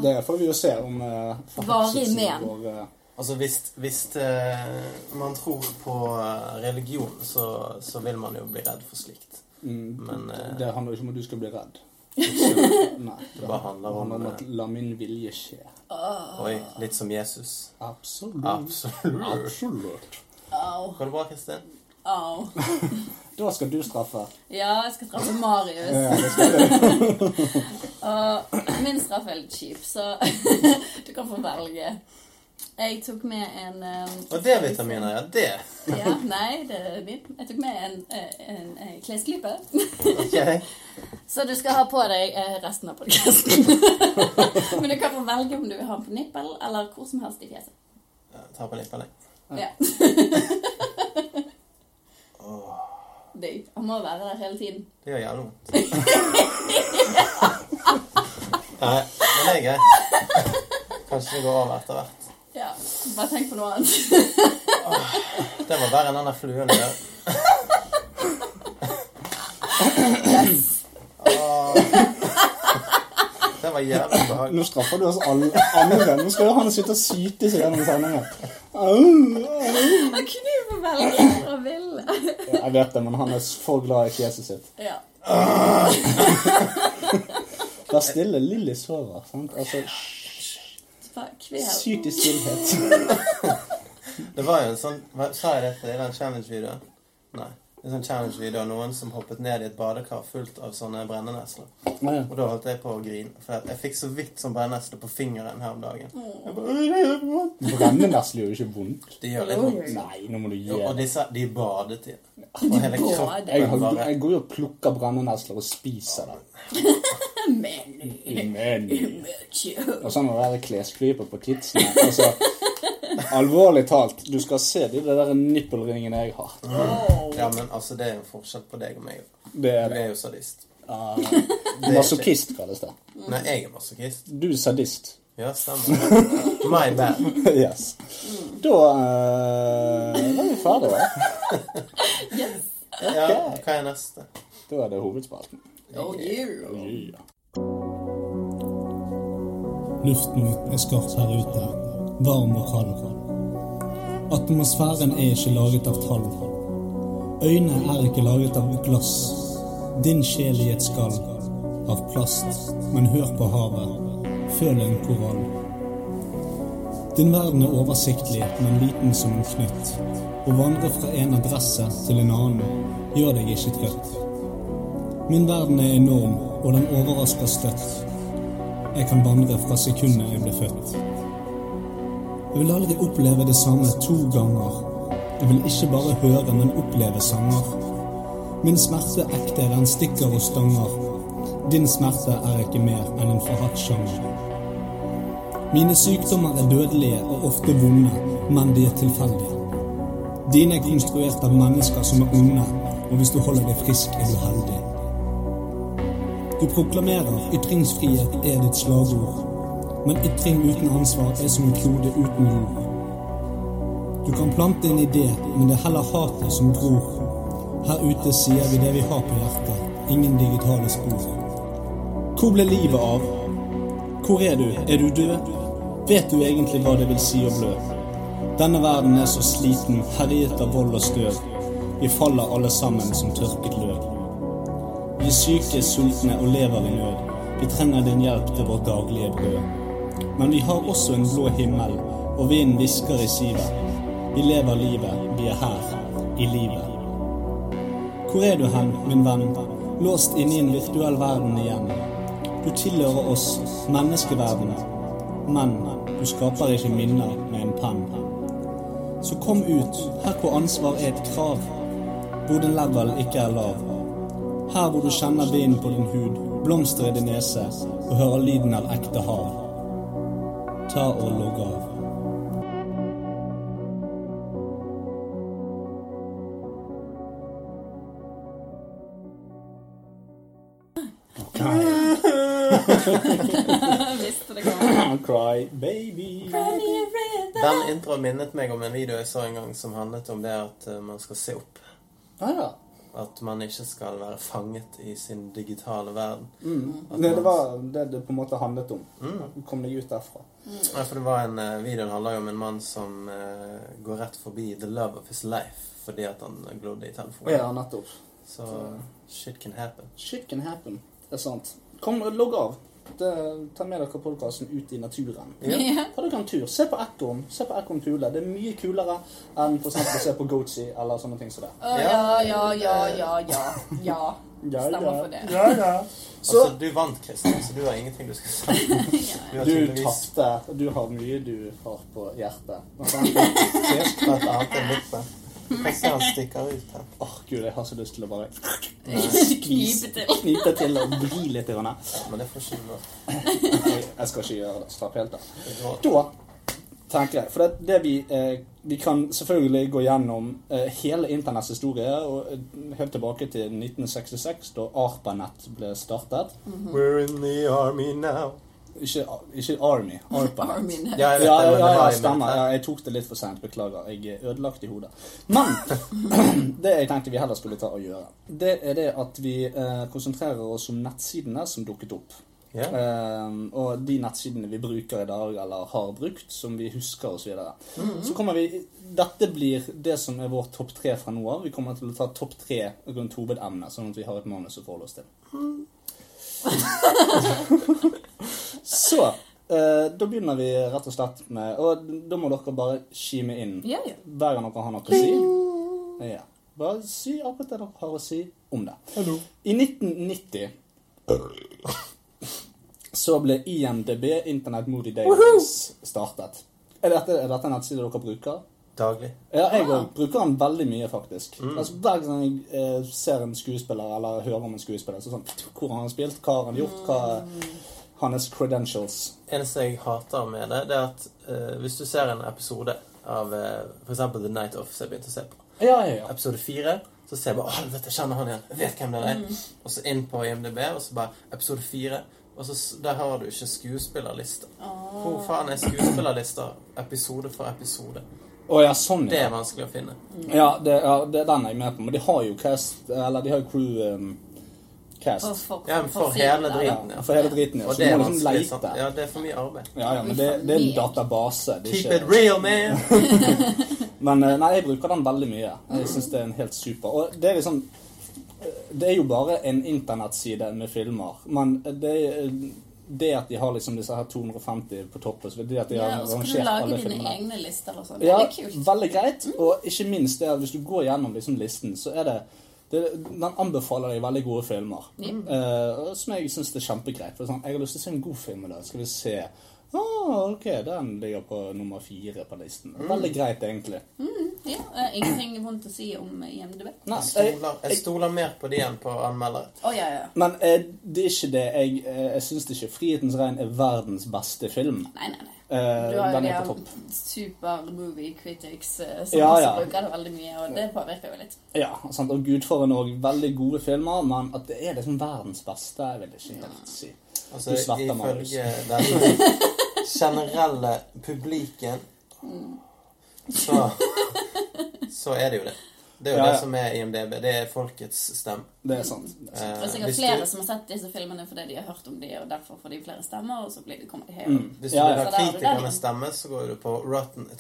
Det får vi jo se om eh, Varig men. går, eh, Altså, hvis, hvis eh, man tror på eh, religion, så, så vil man jo bli redd for slikt. mm, Men eh, Det handler jo ikke om at du skal bli redd. Nei, det bare handler om om eh, at la min vilje skje. Oi, litt som Jesus. Mm. Absolutt. Absolutt. Absolutt. Au. Går det bra, Kristin? Au. Da skal du straffe. Ja, jeg skal straffe Marius. Ja, det skal du. Og min straff er litt kjip, så du kan få velge. Jeg tok med en um, Og D-vitaminer, ja. Det. Ja, nei, det er min. Jeg tok med en, eh, en, eh, klesklype. Ok. Så du skal ha på deg eh, resten av podkasten. Men du kan få velge om du vil ha den på nippel eller hvor som helst i fjeset. Ta på litt beleng. Ja. Digg. Han må være der hele tiden. Det gjør jævlig vondt. Nei, men det er greit. Kanskje det går over etter hvert. Ja, Bare tenk på noe annet. Det må være den der fluen der. Åh. Det var jævlig Nå behagelig. straffer du oss alle andre. Nå skal jo han sitte og syte seg gjennom sendingen. Au, au. Man kunne jo få velge hvor han ville. Jeg vet det, men han er for glad i fjeset sitt. Ja. Der stille Lilly sover. sant? Altså, Bare kvel. Syt i stillhet. Det var jo en sånn hva- Sa jeg dette i den challenge-videoen? Nei. En sånn challenge-video av noen som hoppet ned i et badekar fullt av sånne brennenesler. Ja, ja. Og da holdt jeg på å grine, for jeg- jeg fikk så vidt som brennesle på fingeren her om dagen. Jeg bare, «Øy, det gjør vondt!» Brennenesle gjør jo ikke vondt. Det gjør litt vondt. Nei, nå må du gi Jo, Og deg. disse, de badet i det. Og hele Jeg, kroppen har- bare jeg går jo og plukker brennenesler og spiser dem. Men Mm. Men. mye. Og så må det være klesklyper på tidsene. Altså, alvorlig talt, du skal se de der nippelringene jeg har. Ja, men altså, det er jo forskjell på deg og meg. Det Du er det. er jo sadist. Ah, Masochist kalles det. Nei, jeg er masochist. Du er sadist. Ja, stemmer. My bad. Yes. Mm. Da eh, var vi ferdige, da. Ja, hva er neste? Da er det hovedspalten. Oh, you. Luften er skarp her ute, varm og kald. Atmosfæren er ikke laget av tall. Øyne er ikke laget av glass. Din sjel i et skall av plast. Men hør på havet, føl en korall. Din verden er oversiktlig, men liten som en knytt. Å vandre fra en adresse til en annen gjør deg ikke trøtt. Min verden er enorm, og den overrasker støtt. Jeg kan vandre fra sekundet jeg ble født. Jeg vil aldri oppleve det samme to ganger. Jeg vil ikke bare høre, men oppleve sanger. Min smerte er ekte, den stikker og stanger. Din smerte er ikke mer enn en forhatt sjanger. Mine sykdommer er dødelige og ofte vonde, men de er tilfeldige. Dine er konstruert av mennesker som er onde, og hvis du holder deg frisk, er du heldig. Du proklamerer ytringsfrihet er ditt slagord. Men ytring uten ansvar er som en klode uten jord. Du kan plante en idé, men det er heller hatet som gror. Her ute sier vi det vi har på hjertet. Ingen digitale spor. Hvor ble livet av? Hvor er du? Er du død? Vet du egentlig hva det vil si å blø? Denne verden er så sliten, herjet av vold og støv. Vi faller alle sammen som tørket løv. Vi er syke, sultne og lever i nød. Vi trenger din hjelp til vårt daglige brød. Men vi har også en blå himmel, og vinden hvisker i sivet. Vi lever livet, vi er her, i livet. Hvor er du hen, min venn? Låst inne i en virtuell verden igjen. Du tilhører oss, menneskeverdenen. Men du skaper ikke minner med en penn. Så kom ut, her hvor ansvar er et krav. Hvor din level ikke er lav. Her hvor du kjenner vinden på din hud, blomster i din nese og hører lyden av ekte hav. Ta og logg av. Visste det kom. Cry baby. Den introen minnet meg om en video jeg så en gang som handlet om det at eh, man skal se opp. ja. At man ikke skal være fanget i sin digitale verden. At Mm. Det, det man- var det det på en måte handlet om. Du Kom deg ut derfra. Ja, for det var en eh, video den handler jo om en mann som eh, går rett forbi the love of his life fordi at han glodde i telefonen. Ja, nettopp. Så shit can happen. Shit can happen. Det er sant. Kom, logg av. Det, ta med dere podkasten ut i naturen. Ja. Ta dere en tur. Se på ekorn. Se på ekorn pule. Det er mye kulere enn for eksempel å se på Goatsy eller sånne ting som det. Å, ja, ja, ja, ja, ja. Ja. Ja, Stemmer for det. Ja, ja. Så altså, du vant, Kristian, så du har ingenting du skal si. Du har du tydeligvis tapte. Du har mye du har på hjertet. Blant annet fisk. et annet enn lippen. Du kan se han stikker ut her. Åh, Gud, jeg har så lyst til å bare Knipe til. knipe til og vri litt. i grann. Men det får ikke du lov Jeg jeg skal ikke gjøre det. Slapp helt av. til. Da tenker jeg, for det, det vi, eh, vi kan selvfølgelig gå gjennom eh, hele internetts historie, og eh, helt tilbake til 1966, da ARPANET ble startet. Mm. We're in the army now. Ikke, ikke Army, ARPANET. Armin. Ja, jeg vet Ja, det, men ja, det ja, var ja, i stemmer. militæret. Ja, jeg tok det litt for sent. Beklager. Jeg er ødelagt i hodet. Men det jeg tenkte vi heller skulle ta og gjøre, det er det at vi eh, konsentrerer oss om nettsidene som dukket opp. Ja. Eh, og de nettsidene vi bruker i dag, eller har brukt, som vi husker osv. videre Så kommer vi Dette blir det som er vår topp tre fra nå av. Vi kommer til å ta topp tre rundt hovedemnet, sånn at vi har et manus å forholde oss til. Så eh, da begynner vi rett og slett med Og da må dere bare kime inn Ja, ja. hver gang dere har noe å si. Ja. Bare si akkurat det dere har å si om det. I 1990 så ble IMDb, Internet Moody Days, startet. Er dette, er dette en nettside dere bruker? Daglig. Ja, jeg Ah. også bruker den veldig mye, faktisk. Altså, hver gang jeg eh, ser en skuespiller, eller hører om en skuespiller, så sånn Hvor har han spilt? Hva har han gjort? Hva Mm. er hans credentials? eneste jeg hater med det, det er at eh, hvis du ser en episode av eh, for f.eks. The Night Off, som jeg begynte å se på, Ja, ja, ja. episode fire, så ser jeg bare 'Å, helvete, jeg kjenner han igjen. Jeg vet hvem det er.' Og så inn på IMDb, og så bare episode fire. Og så, s- der har du ikke skuespillerliste. Hvor faen er skuespillerlister episode for episode? Å ja, sånn, Det ja. er vanskelig å finne. Ja, det, ja, det er den jeg er med på. Men de har jo cast Eller de har jo crew um, For, cast. for, Ja, men for hele driten, For hele driten, ja. Og Så det du er må liksom vanskelig. sant? leite. Ja, det er for mye arbeid. Ja, ja, men det, det er en database. Det Keep er it ikke, real, man! men eh, nei, jeg bruker den veldig mye. Jeg syns det er en helt super. Og det er liksom eh, Det er jo bare en internettside med filmer, men eh, det er det at de har liksom disse her 250 på toppen, så det er at de Ja, har og så kan du rangert lage alle dine filmene egne lister og sånn. Ja, Det er kult. Mm. veldig greit. Og ikke minst det at hvis du går gjennom liksom listen, så er det, det Den anbefaler deg veldig gode filmer. Mm. Eh, og som jeg syns er kjempegreit. For sånn, jeg har lyst til å se en god film i dag. Skal vi se Ah, ok, den ligger på nummer fire på listen. Mm. Veldig greit, egentlig. Ja, eh, ingenting vondt å si om IMDb. Å, Nei, Jeg stoler, jeg stoler mer på de enn på anmelder. ja, ja. Men eh, det er ikke det. Jeg, eh, jeg syns ikke 'Frihetens regn' er verdens beste film. Nei, nei, nei. Eh, Du har jo den de er på her topp. super movie critics eh, som Ja, også ja. bruker det veldig mye, og det påvirker jo litt. Ja, sant? Og 'Gudfaren' òg. Veldig gode filmer, men at det er liksom verdens beste, jeg vil ikke helt si. Altså, Du svetter, Marius. ifølge den generelle publiken så, så er det jo det. Det er jo Ja, ja. det som er IMDb. Det er folkets stemme. Det er sant. Det er sant. Det er Eh, sikkert hvis flere du, som har sett disse filmene fordi de har hørt om de, og derfor får de flere stemmer, og så blir de kommer de høyere. hvis du Ja, ja. vil ha Så da har du den. kritikernes stemme, så går du på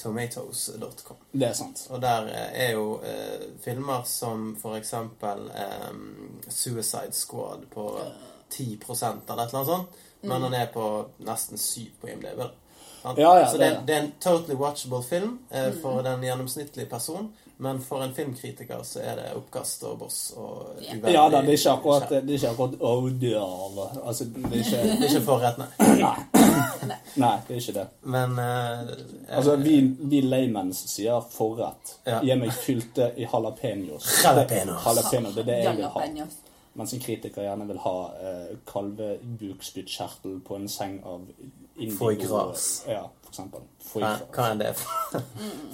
rottentomatoes.com. Det er sant. Og der eh, er jo eh, filmer som for eksempel eh, Suicide Squad på 10 eller et eller annet sånt. Men han er på nesten 7 på IMDb. da. Sant? Mm. Ja, ja, så det, det- Mm, det er en totally watchable film eh, for den gjennomsnittlige person. Men for en filmkritiker så er det oppkast og boss og Ja. uveldig Ja da, det er ikke akkurat eh, skjerm. Det er ikke akkurat Odal. Altså, det er Det ikke er ikke forrett, nei. Nei, det er ikke det. Men eh, Altså, vi, vi laymen's sier forrett. Ja. Gi meg fylte i jalapeños. Jalapeños. Jalapeno, det er det jeg vil ha. Jalapeños. Mens en kritiker gjerne vil ha eh, kalvebukspyttkjertel på en seng av indigo. Foie gras. Ja, for eksempel. Foie Hva gras. hva enn det er for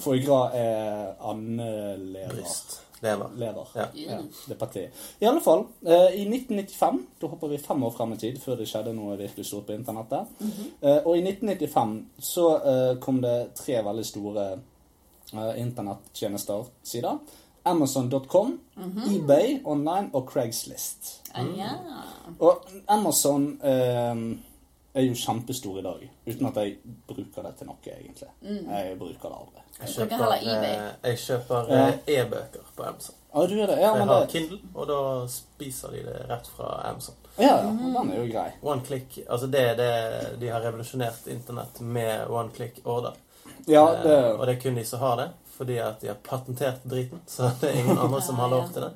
Foie gras er andelever. bryst. Lever. Lever. Ja. Ja, det er partiet. I alle fall, eh, i 1995, da hopper vi fem år frem i tid før det skjedde noe virkelig stort på internettet, eh, og i 1995 så eh, kom det tre veldig store eh, internettjenester sider. Amazon.com, eBay online og Craigslist. Ah, ja. Og Amazon eh, er jo kjempestor i dag, uten at jeg bruker det til noe, egentlig. Jeg bruker det aldri. Jeg bruker heller eBay. eh, jeg kjøper eh, e-bøker på Amazon. Ja, du er det. Ja, Jeg men har det, Kindle, og da spiser de det rett fra Amazon. ja, ja, den er jo grei. One click, altså det er det De har revolusjonert internett med one click order. Ja, Eh, det... Og det er kun de som har det, fordi at de har patentert driten. Så det er ingen andre som har lov til det.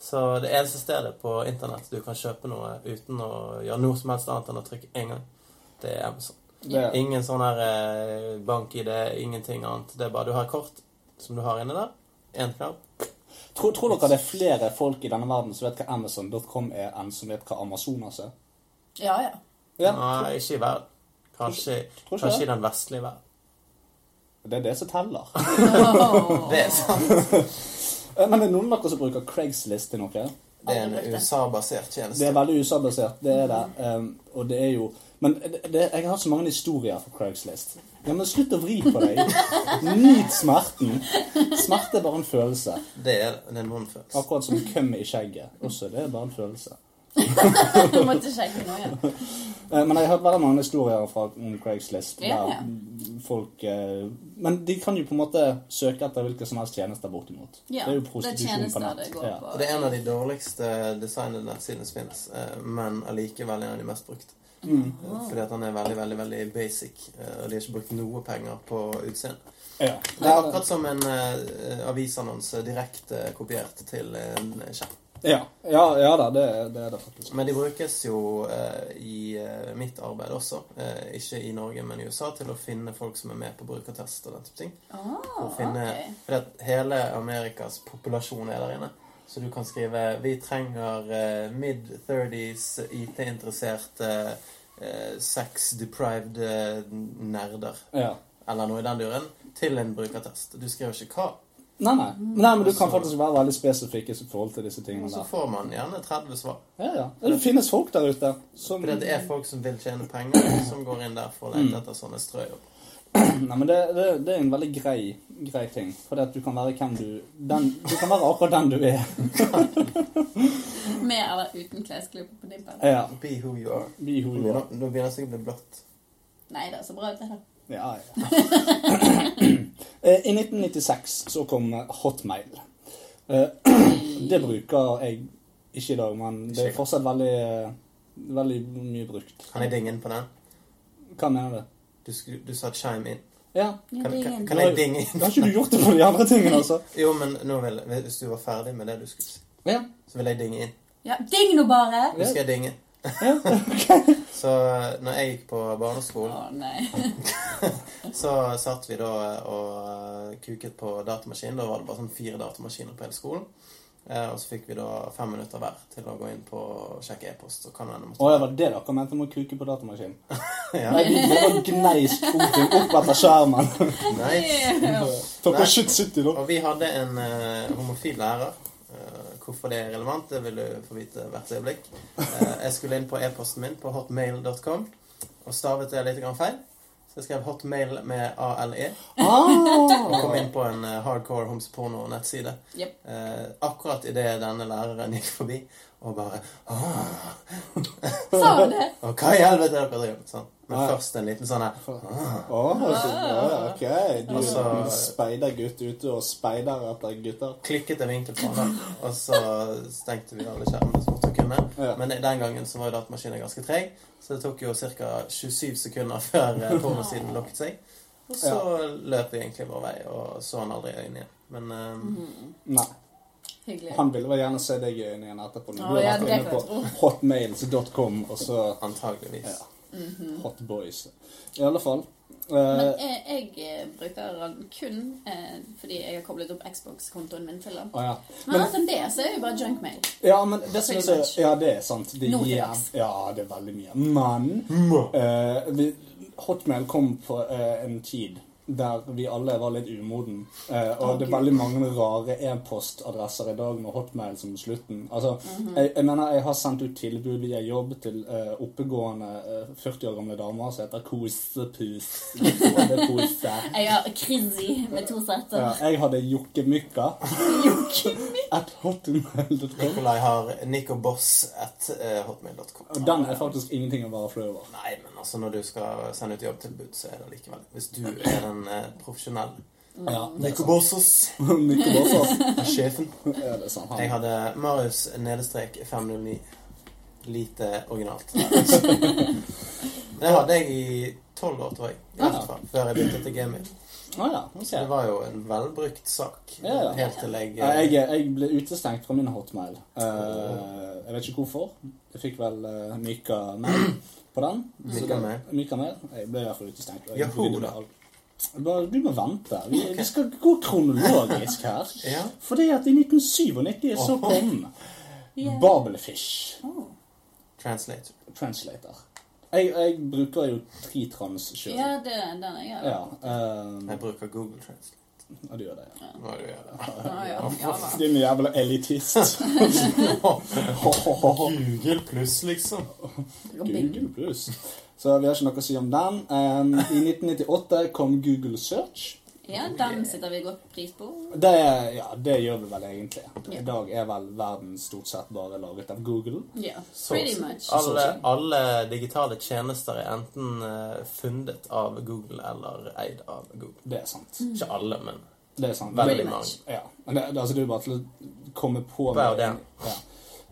Så det eneste stedet på internett du kan kjøpe noe uten å gjøre noe som helst annet enn å trykke én gang, det er Amazon. det Ingen sånn her eh, bank-ID, ingenting annet. Det er bare du har et kort som du har inne der. Én knapp. Tror, tror dere det er flere folk i denne verden som vet hva Amazon.com er, enn som vet hva Amazonas er? ja, ja. Ja, Nei, ikke i verden. Kanskje, tror ikke kanskje det. i den vestlige verden. Det er det som teller. Det er sant. Eh, Men det er noen av dere som bruker Craigslist til noe. Det er en USA-basert Det tjeneste. er veldig USA-basert, det er det. Em, og det er jo Men det, det, jeg har så mange historier fra Craigslist. Ja, men slutt å vri på deg. Nyt smerten. Smerte er bare en følelse. Det er, det er en vond følelse. Akkurat som køm i skjegget. Også det er bare en følelse. Du måtte sjekke noe igjen. Eh, Men jeg har hørt veldig mange historier fra om Craigslist. Ja, der ja. folk eh, Men de kan jo på en måte søke etter hvilke som helst tjenester bortimot. Ja, det er jo det er prostitusjon på tjenester det nett. går Ja. på. Og det er en av de dårligste designede nettsidene som finnes, eh, men allikevel en av de mest brukte. Mm. Eh, Fordi at han er veldig, veldig veldig basic, eh, og de har ikke brukt noe penger på utseende. Ja. Det er akkurat som en eh, avisannonse direkte kopiert til en skjerm. Ja, ja, ja da, det, det er det faktisk. Men de brukes jo eh, i eh, mitt arbeid også, eh, ikke i Norge, men i USA, til å finne folk som er med på brukertest og den type ting. Ah, å finne ok. Fordi at hele Amerikas populasjon er der inne. Så du kan skrive 'Vi trenger eh, mid-30s IT-interesserte eh, sex-deprived eh, nerder' Ja. eller noe i den duren, til en brukertest. Du skriver ikke hva. Nei, nei. nei, men du kan faktisk være veldig spesifikk i forhold til disse tingene Og så der. får man gjerne 30 svar. Ja, ja. Ja, Det finnes folk der ute som Fordi at det Mhm. er folk som vil tjene penger, som går inn der for å Mm. lete etter sånne strøjobb. Nei, men det, det, det er en veldig grei, grei ting. Fordi at du kan være hvem du den, Du kan være akkurat den du er. Med eller uten klesklype på nippelen. Ja. Be who you are. Be who Nå you are. nå begynner det sikkert å bli blått. Nei da, så bra ut det da. Ja, ja. Eh, I 1996 så kom eh, Hotmail. Eh, Det bruker jeg ikke i dag, men det er fortsatt veldig, eh, veldig mye brukt. Kan jeg dinge inn på den? Hva mener du? Du, sku- du sa chime in. Ja. Kan, Ding kan, in. kan jeg dinge inn? Har ikke du gjort det på de andre tingene, altså? Jo, men nå vil, hvis du var ferdig med det du skulle si, Ja. så vil jeg dinge inn. Ja, ding nå bare! Nå skal jeg dinge. ja. Så Så når jeg gikk på barneskolen, Å nei. så satt vi da eh, og kuket på datamaskin. Da var det bare sånn fire datamaskiner på hele skolen. Eh, og så fikk vi da fem minutter hver til å gå inn på og sjekke e-post. Og kan hende måtte Å, det var det dere mente med å kuke på datamaskin? Nei, vi bare gneis foten opp etter skjermen. Nice. Dere shit sitter da. Og vi hadde en eh, homofil lærer. Eh, hvorfor det er relevant, det vil du få vite hvert øyeblikk. Eh, jeg skulle inn på e-posten min på hotmail.com og stavet det litt grann feil. Så jeg skrev hotmail med ALE Ah! og kom inn på en eh, hardcore homseporno-nettside. Jep. Eh, akkurat idet denne læreren gikk forbi og bare «Åh, Sa hun det? Ah, Og hva i helvete er det dere driver med? Sånn. Men Ja. først en liten sånn her Å, så bra. Ok. Du er Altså- en speidergutt ute og speider etter gutter. klikket en vinkel på den, og så stengte vi alle skjermene så fort vi kunne. Ja. Men den gangen så var jo datamaskinen ganske treg, så det tok jo ca. 27 sekunder før eh, pornosiden lukket seg. Og så løp vi egentlig vår vei og så han aldri i øynene igjen. Men eh, Nei. Hyggelig. Han ville vel gjerne se deg i øynene igjen etterpå. når Å, Du har ja, vært det inne kan jeg på hotmails.com, og så antageligvis. Ja. hotboys. I alle fall. Eh, Mm. Men jeg, jeg eh, bruker den kun eh, fordi jeg har koblet opp Xbox-kontoen min til den. å, ja. Men altså, annet enn det så er det jo bare junkmail. Ja, men det som er Pretty så, ja, det er sant. Det Noe gir, til oss. ja, det er veldig mye. Men eh, vi, Hotmail kom på eh, en tid der vi alle var litt umoden. Eh, og det er veldig mange rare e-postadresser i dag med Hotmail som slutten. Altså, jeg, jeg mener, jeg har sendt ut tilbud via jobb til eh, oppegående eh, 40 år gamle damer som heter Kosepus. Både Kose. Jeg har Krizzy med to setter. Ja, jeg hadde Jokkemykka. At hotmail.com. Nikolai har nicoboss at eh, hotmail.com. Og den er faktisk ingenting å være flau over. Nei, men altså når du skal sende ut jobbtilbud, så er det likevel Hvis du er den eh, profesjonelle Ja, Nicobossos, Mykke hvorfor. sjefen Ja, det er sant. Jeg Han. hadde Marius nedestrek 509. Lite originalt. Det hadde jeg i tolv år, tror jeg. I hvert fall, før jeg begynte til Gaming. Ah, ja, ok. Så det var jo en velbrukt sak. Ja, ja. Helt til jeg, Ja, jeg, jeg ble utestengt fra min hotmail. Eh, jeg vet ikke hvorfor. Jeg fikk vel uh, myka mail på den. Så Myka da- mail? Myka mail. Jeg ble i hvert fall utestengt. og jeg Yahoo, brydde meg da. aldri. Bare, du må vente. Vi, vi skal gå kronologisk her. Ja. Fordi at i 1997 så kom Babelfish eh, Translator. Translator. Jeg, jeg bruker jo Tritrans sjøl. Ja, det er den jeg gjør. Ja, eh, Jeg bruker Google Translate. ja, du gjør det. ja. Hva du gjør det. Ja, ja, ja, da. Din jævla elitist. Google pluss, liksom. Google Plus. Så vi har ikke noe å si om den. Um, I 1998 kom Google Search. ja, den sitter vi godt pris på. Det, ja, det gjør vi vel egentlig. I dag er vel verden stort sett bare laget av Google. Ja, Så- pretty much. Ah. Alle, alle digitale tjenester er enten eh, fundet av Google eller eid av Google. Det er sant. Ikke alle, men Det er sant. Veldig Det- mange. Ja. Men det, det, altså, det er jo bare til å komme på Hva er det? Ja.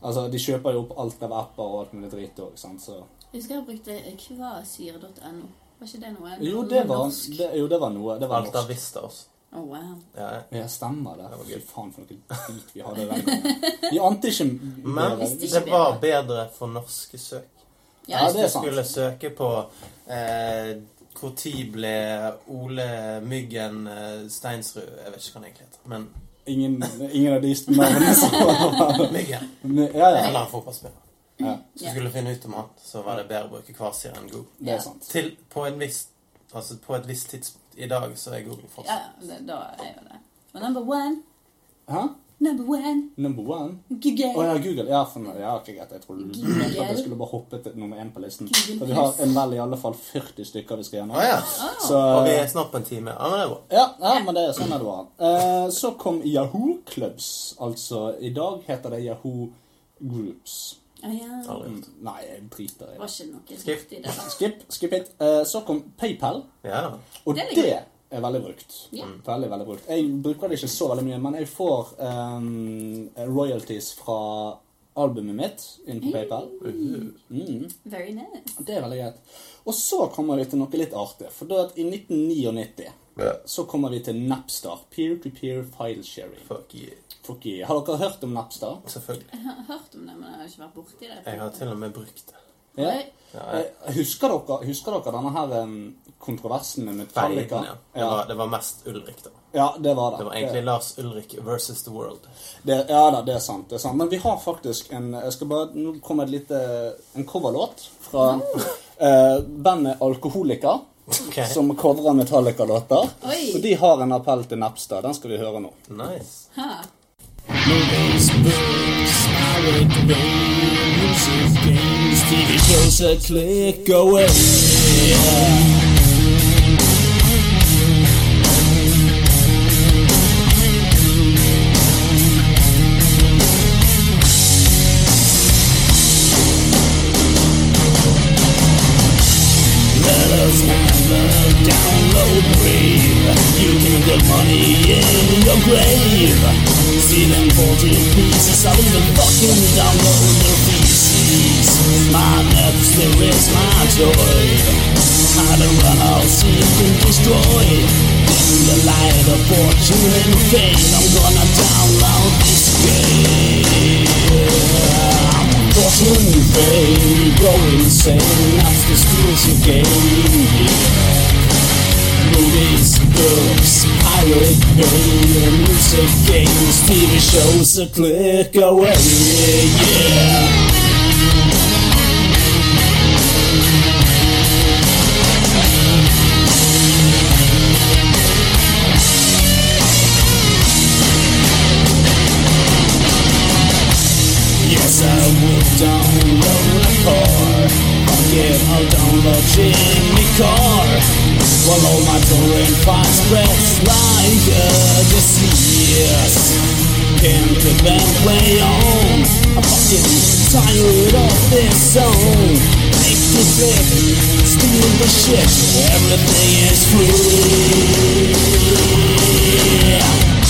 Altså, de kjøper jo opp alt av apper og alt mulig dritt òg, sant, så Jeg husker jeg brukte kvasyre.no. Var ikke det noe? Jo, det var, det, jo, det var noe. Det var Alta norsk. Vista også. Å, Oh, wow. Ja, ja. Ja, stemmer det. var Fy gøy. faen, for noe drit vi hadde den gangen. Vi ante ikke Men Visste ikke det var bedre for norske søk. Ja, det er Du sant. skulle søke på eh, Hvor tid ble Ole Myggen eh, Steinsrud Jeg vet ikke hva han egentlig heter. Men Ingen, ingen av de navnene som var Myggen. Ja, ja. Eller en fotballspiller. Ja. Så skulle du finne ut om han, så var det bedre å bruke Kvasir enn Google. Det er sant. Til, på, en viss, altså på et visst tidspunkt i dag så er Google Ja, fortsatt det, da er jo det. Og number one, Hæ? number one, Number one? Å Google. ja, Google. Ja, for, ja ok, greit. Jeg trodde du Google. mente at jeg skulle bare hoppe til nummer én på listen. Google For vi har en vel i alle fall 40 stykker vi skal gjennom. Å ja. Så, Og vi er snart på en time. Ja, men det er bra. ja, ja, men det er sånn er det var. Eh, så kom Yahoo Clubs. Altså, i dag heter det Yahoo Groups. Å Ah, ja, det Aldri gjort. Nei, jeg driter i det. var ikke noe Skrift. riktig det da. Skip, skip it. Eh, så kom PayPal. Ja da. Og Det det, er litt er veldig brukt. Ja. Veldig, veldig brukt. Jeg bruker det ikke så veldig mye, men jeg får ehm, royalties fra albumet mitt inn på PayPal. Mm. Very nice. Det er veldig greit. Og så kommer vi til noe litt artig. For da at i 1999 så kommer vi til Napstar. Peer-to-peer file sharing. Fuck you. Fuck yeah. Har dere hørt om Napstar? Selvfølgelig. Jeg har hørt om det, men jeg har ikke vært borti det. Jeg har til og med brukt det. Ja. Oi. Ja, Eh, Husker dere, husker dere denne her em, kontroversen med Metallica? Feiden, ja. Det var, det var mest Ulrik, da. ja, det var det. Det var egentlig Lars Ulrik versus The World. Det, ja da, det er sant. det er sant. Men vi har faktisk en jeg skal bare, Nå kommer et lite, en coverlåt fra eh, bandet Alkoholika. Ok. Som coverer Metallica-låter. Oi. Og de har en appell til Napstad. Den skal vi høre nå. Nice. Movies, books, I read the way, music, games, TV shows, a click away. Let us have a download brave. You can get money in your grave. See them fall to pieces. I'll even fucking download their feces. My apps, there is my joy. How to run out, seek and destroy. In the light of fortune and fame, I'm gonna download this game. Fortune and fame, go insane. That's the spiritual game. Yeah. Movies, books, pirate radio, music, games, TV shows, a click away, yeah. Yes, I would download a car. Fuck it, I'll download Jimmy Carr. While all my torrent files spreads like a disease. Can't prevent play on. I'm fucking tired of this song. Make the trip, steal the shit. Everything is free.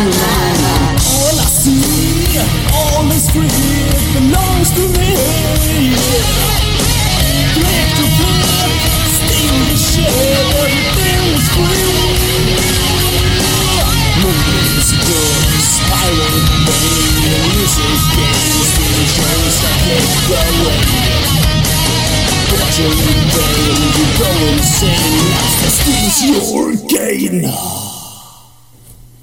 All I see, all is free, belongs to me. Click to flip, steal the shit, everything is free. Movies, books, pirate radio, music, games, TV shows, I can't go away. Watching you fail, you go insane, that's your gain.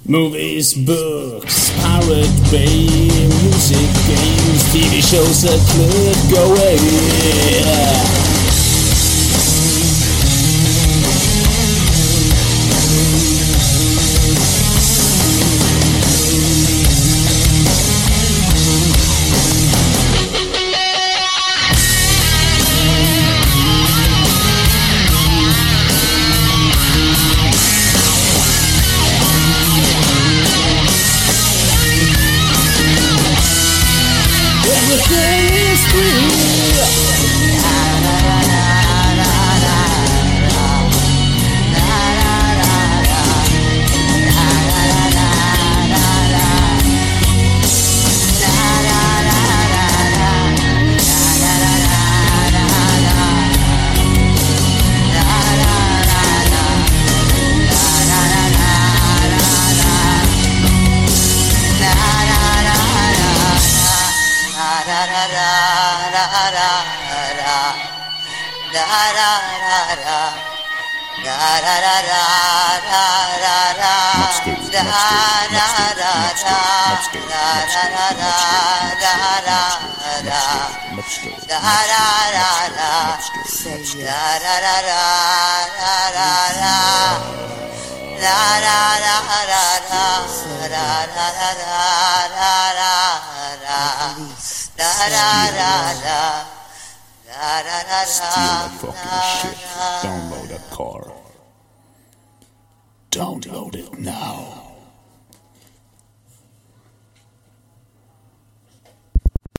Movies, books, pirate bay, music, games, TV shows that could go away. Everything is free. Download it now.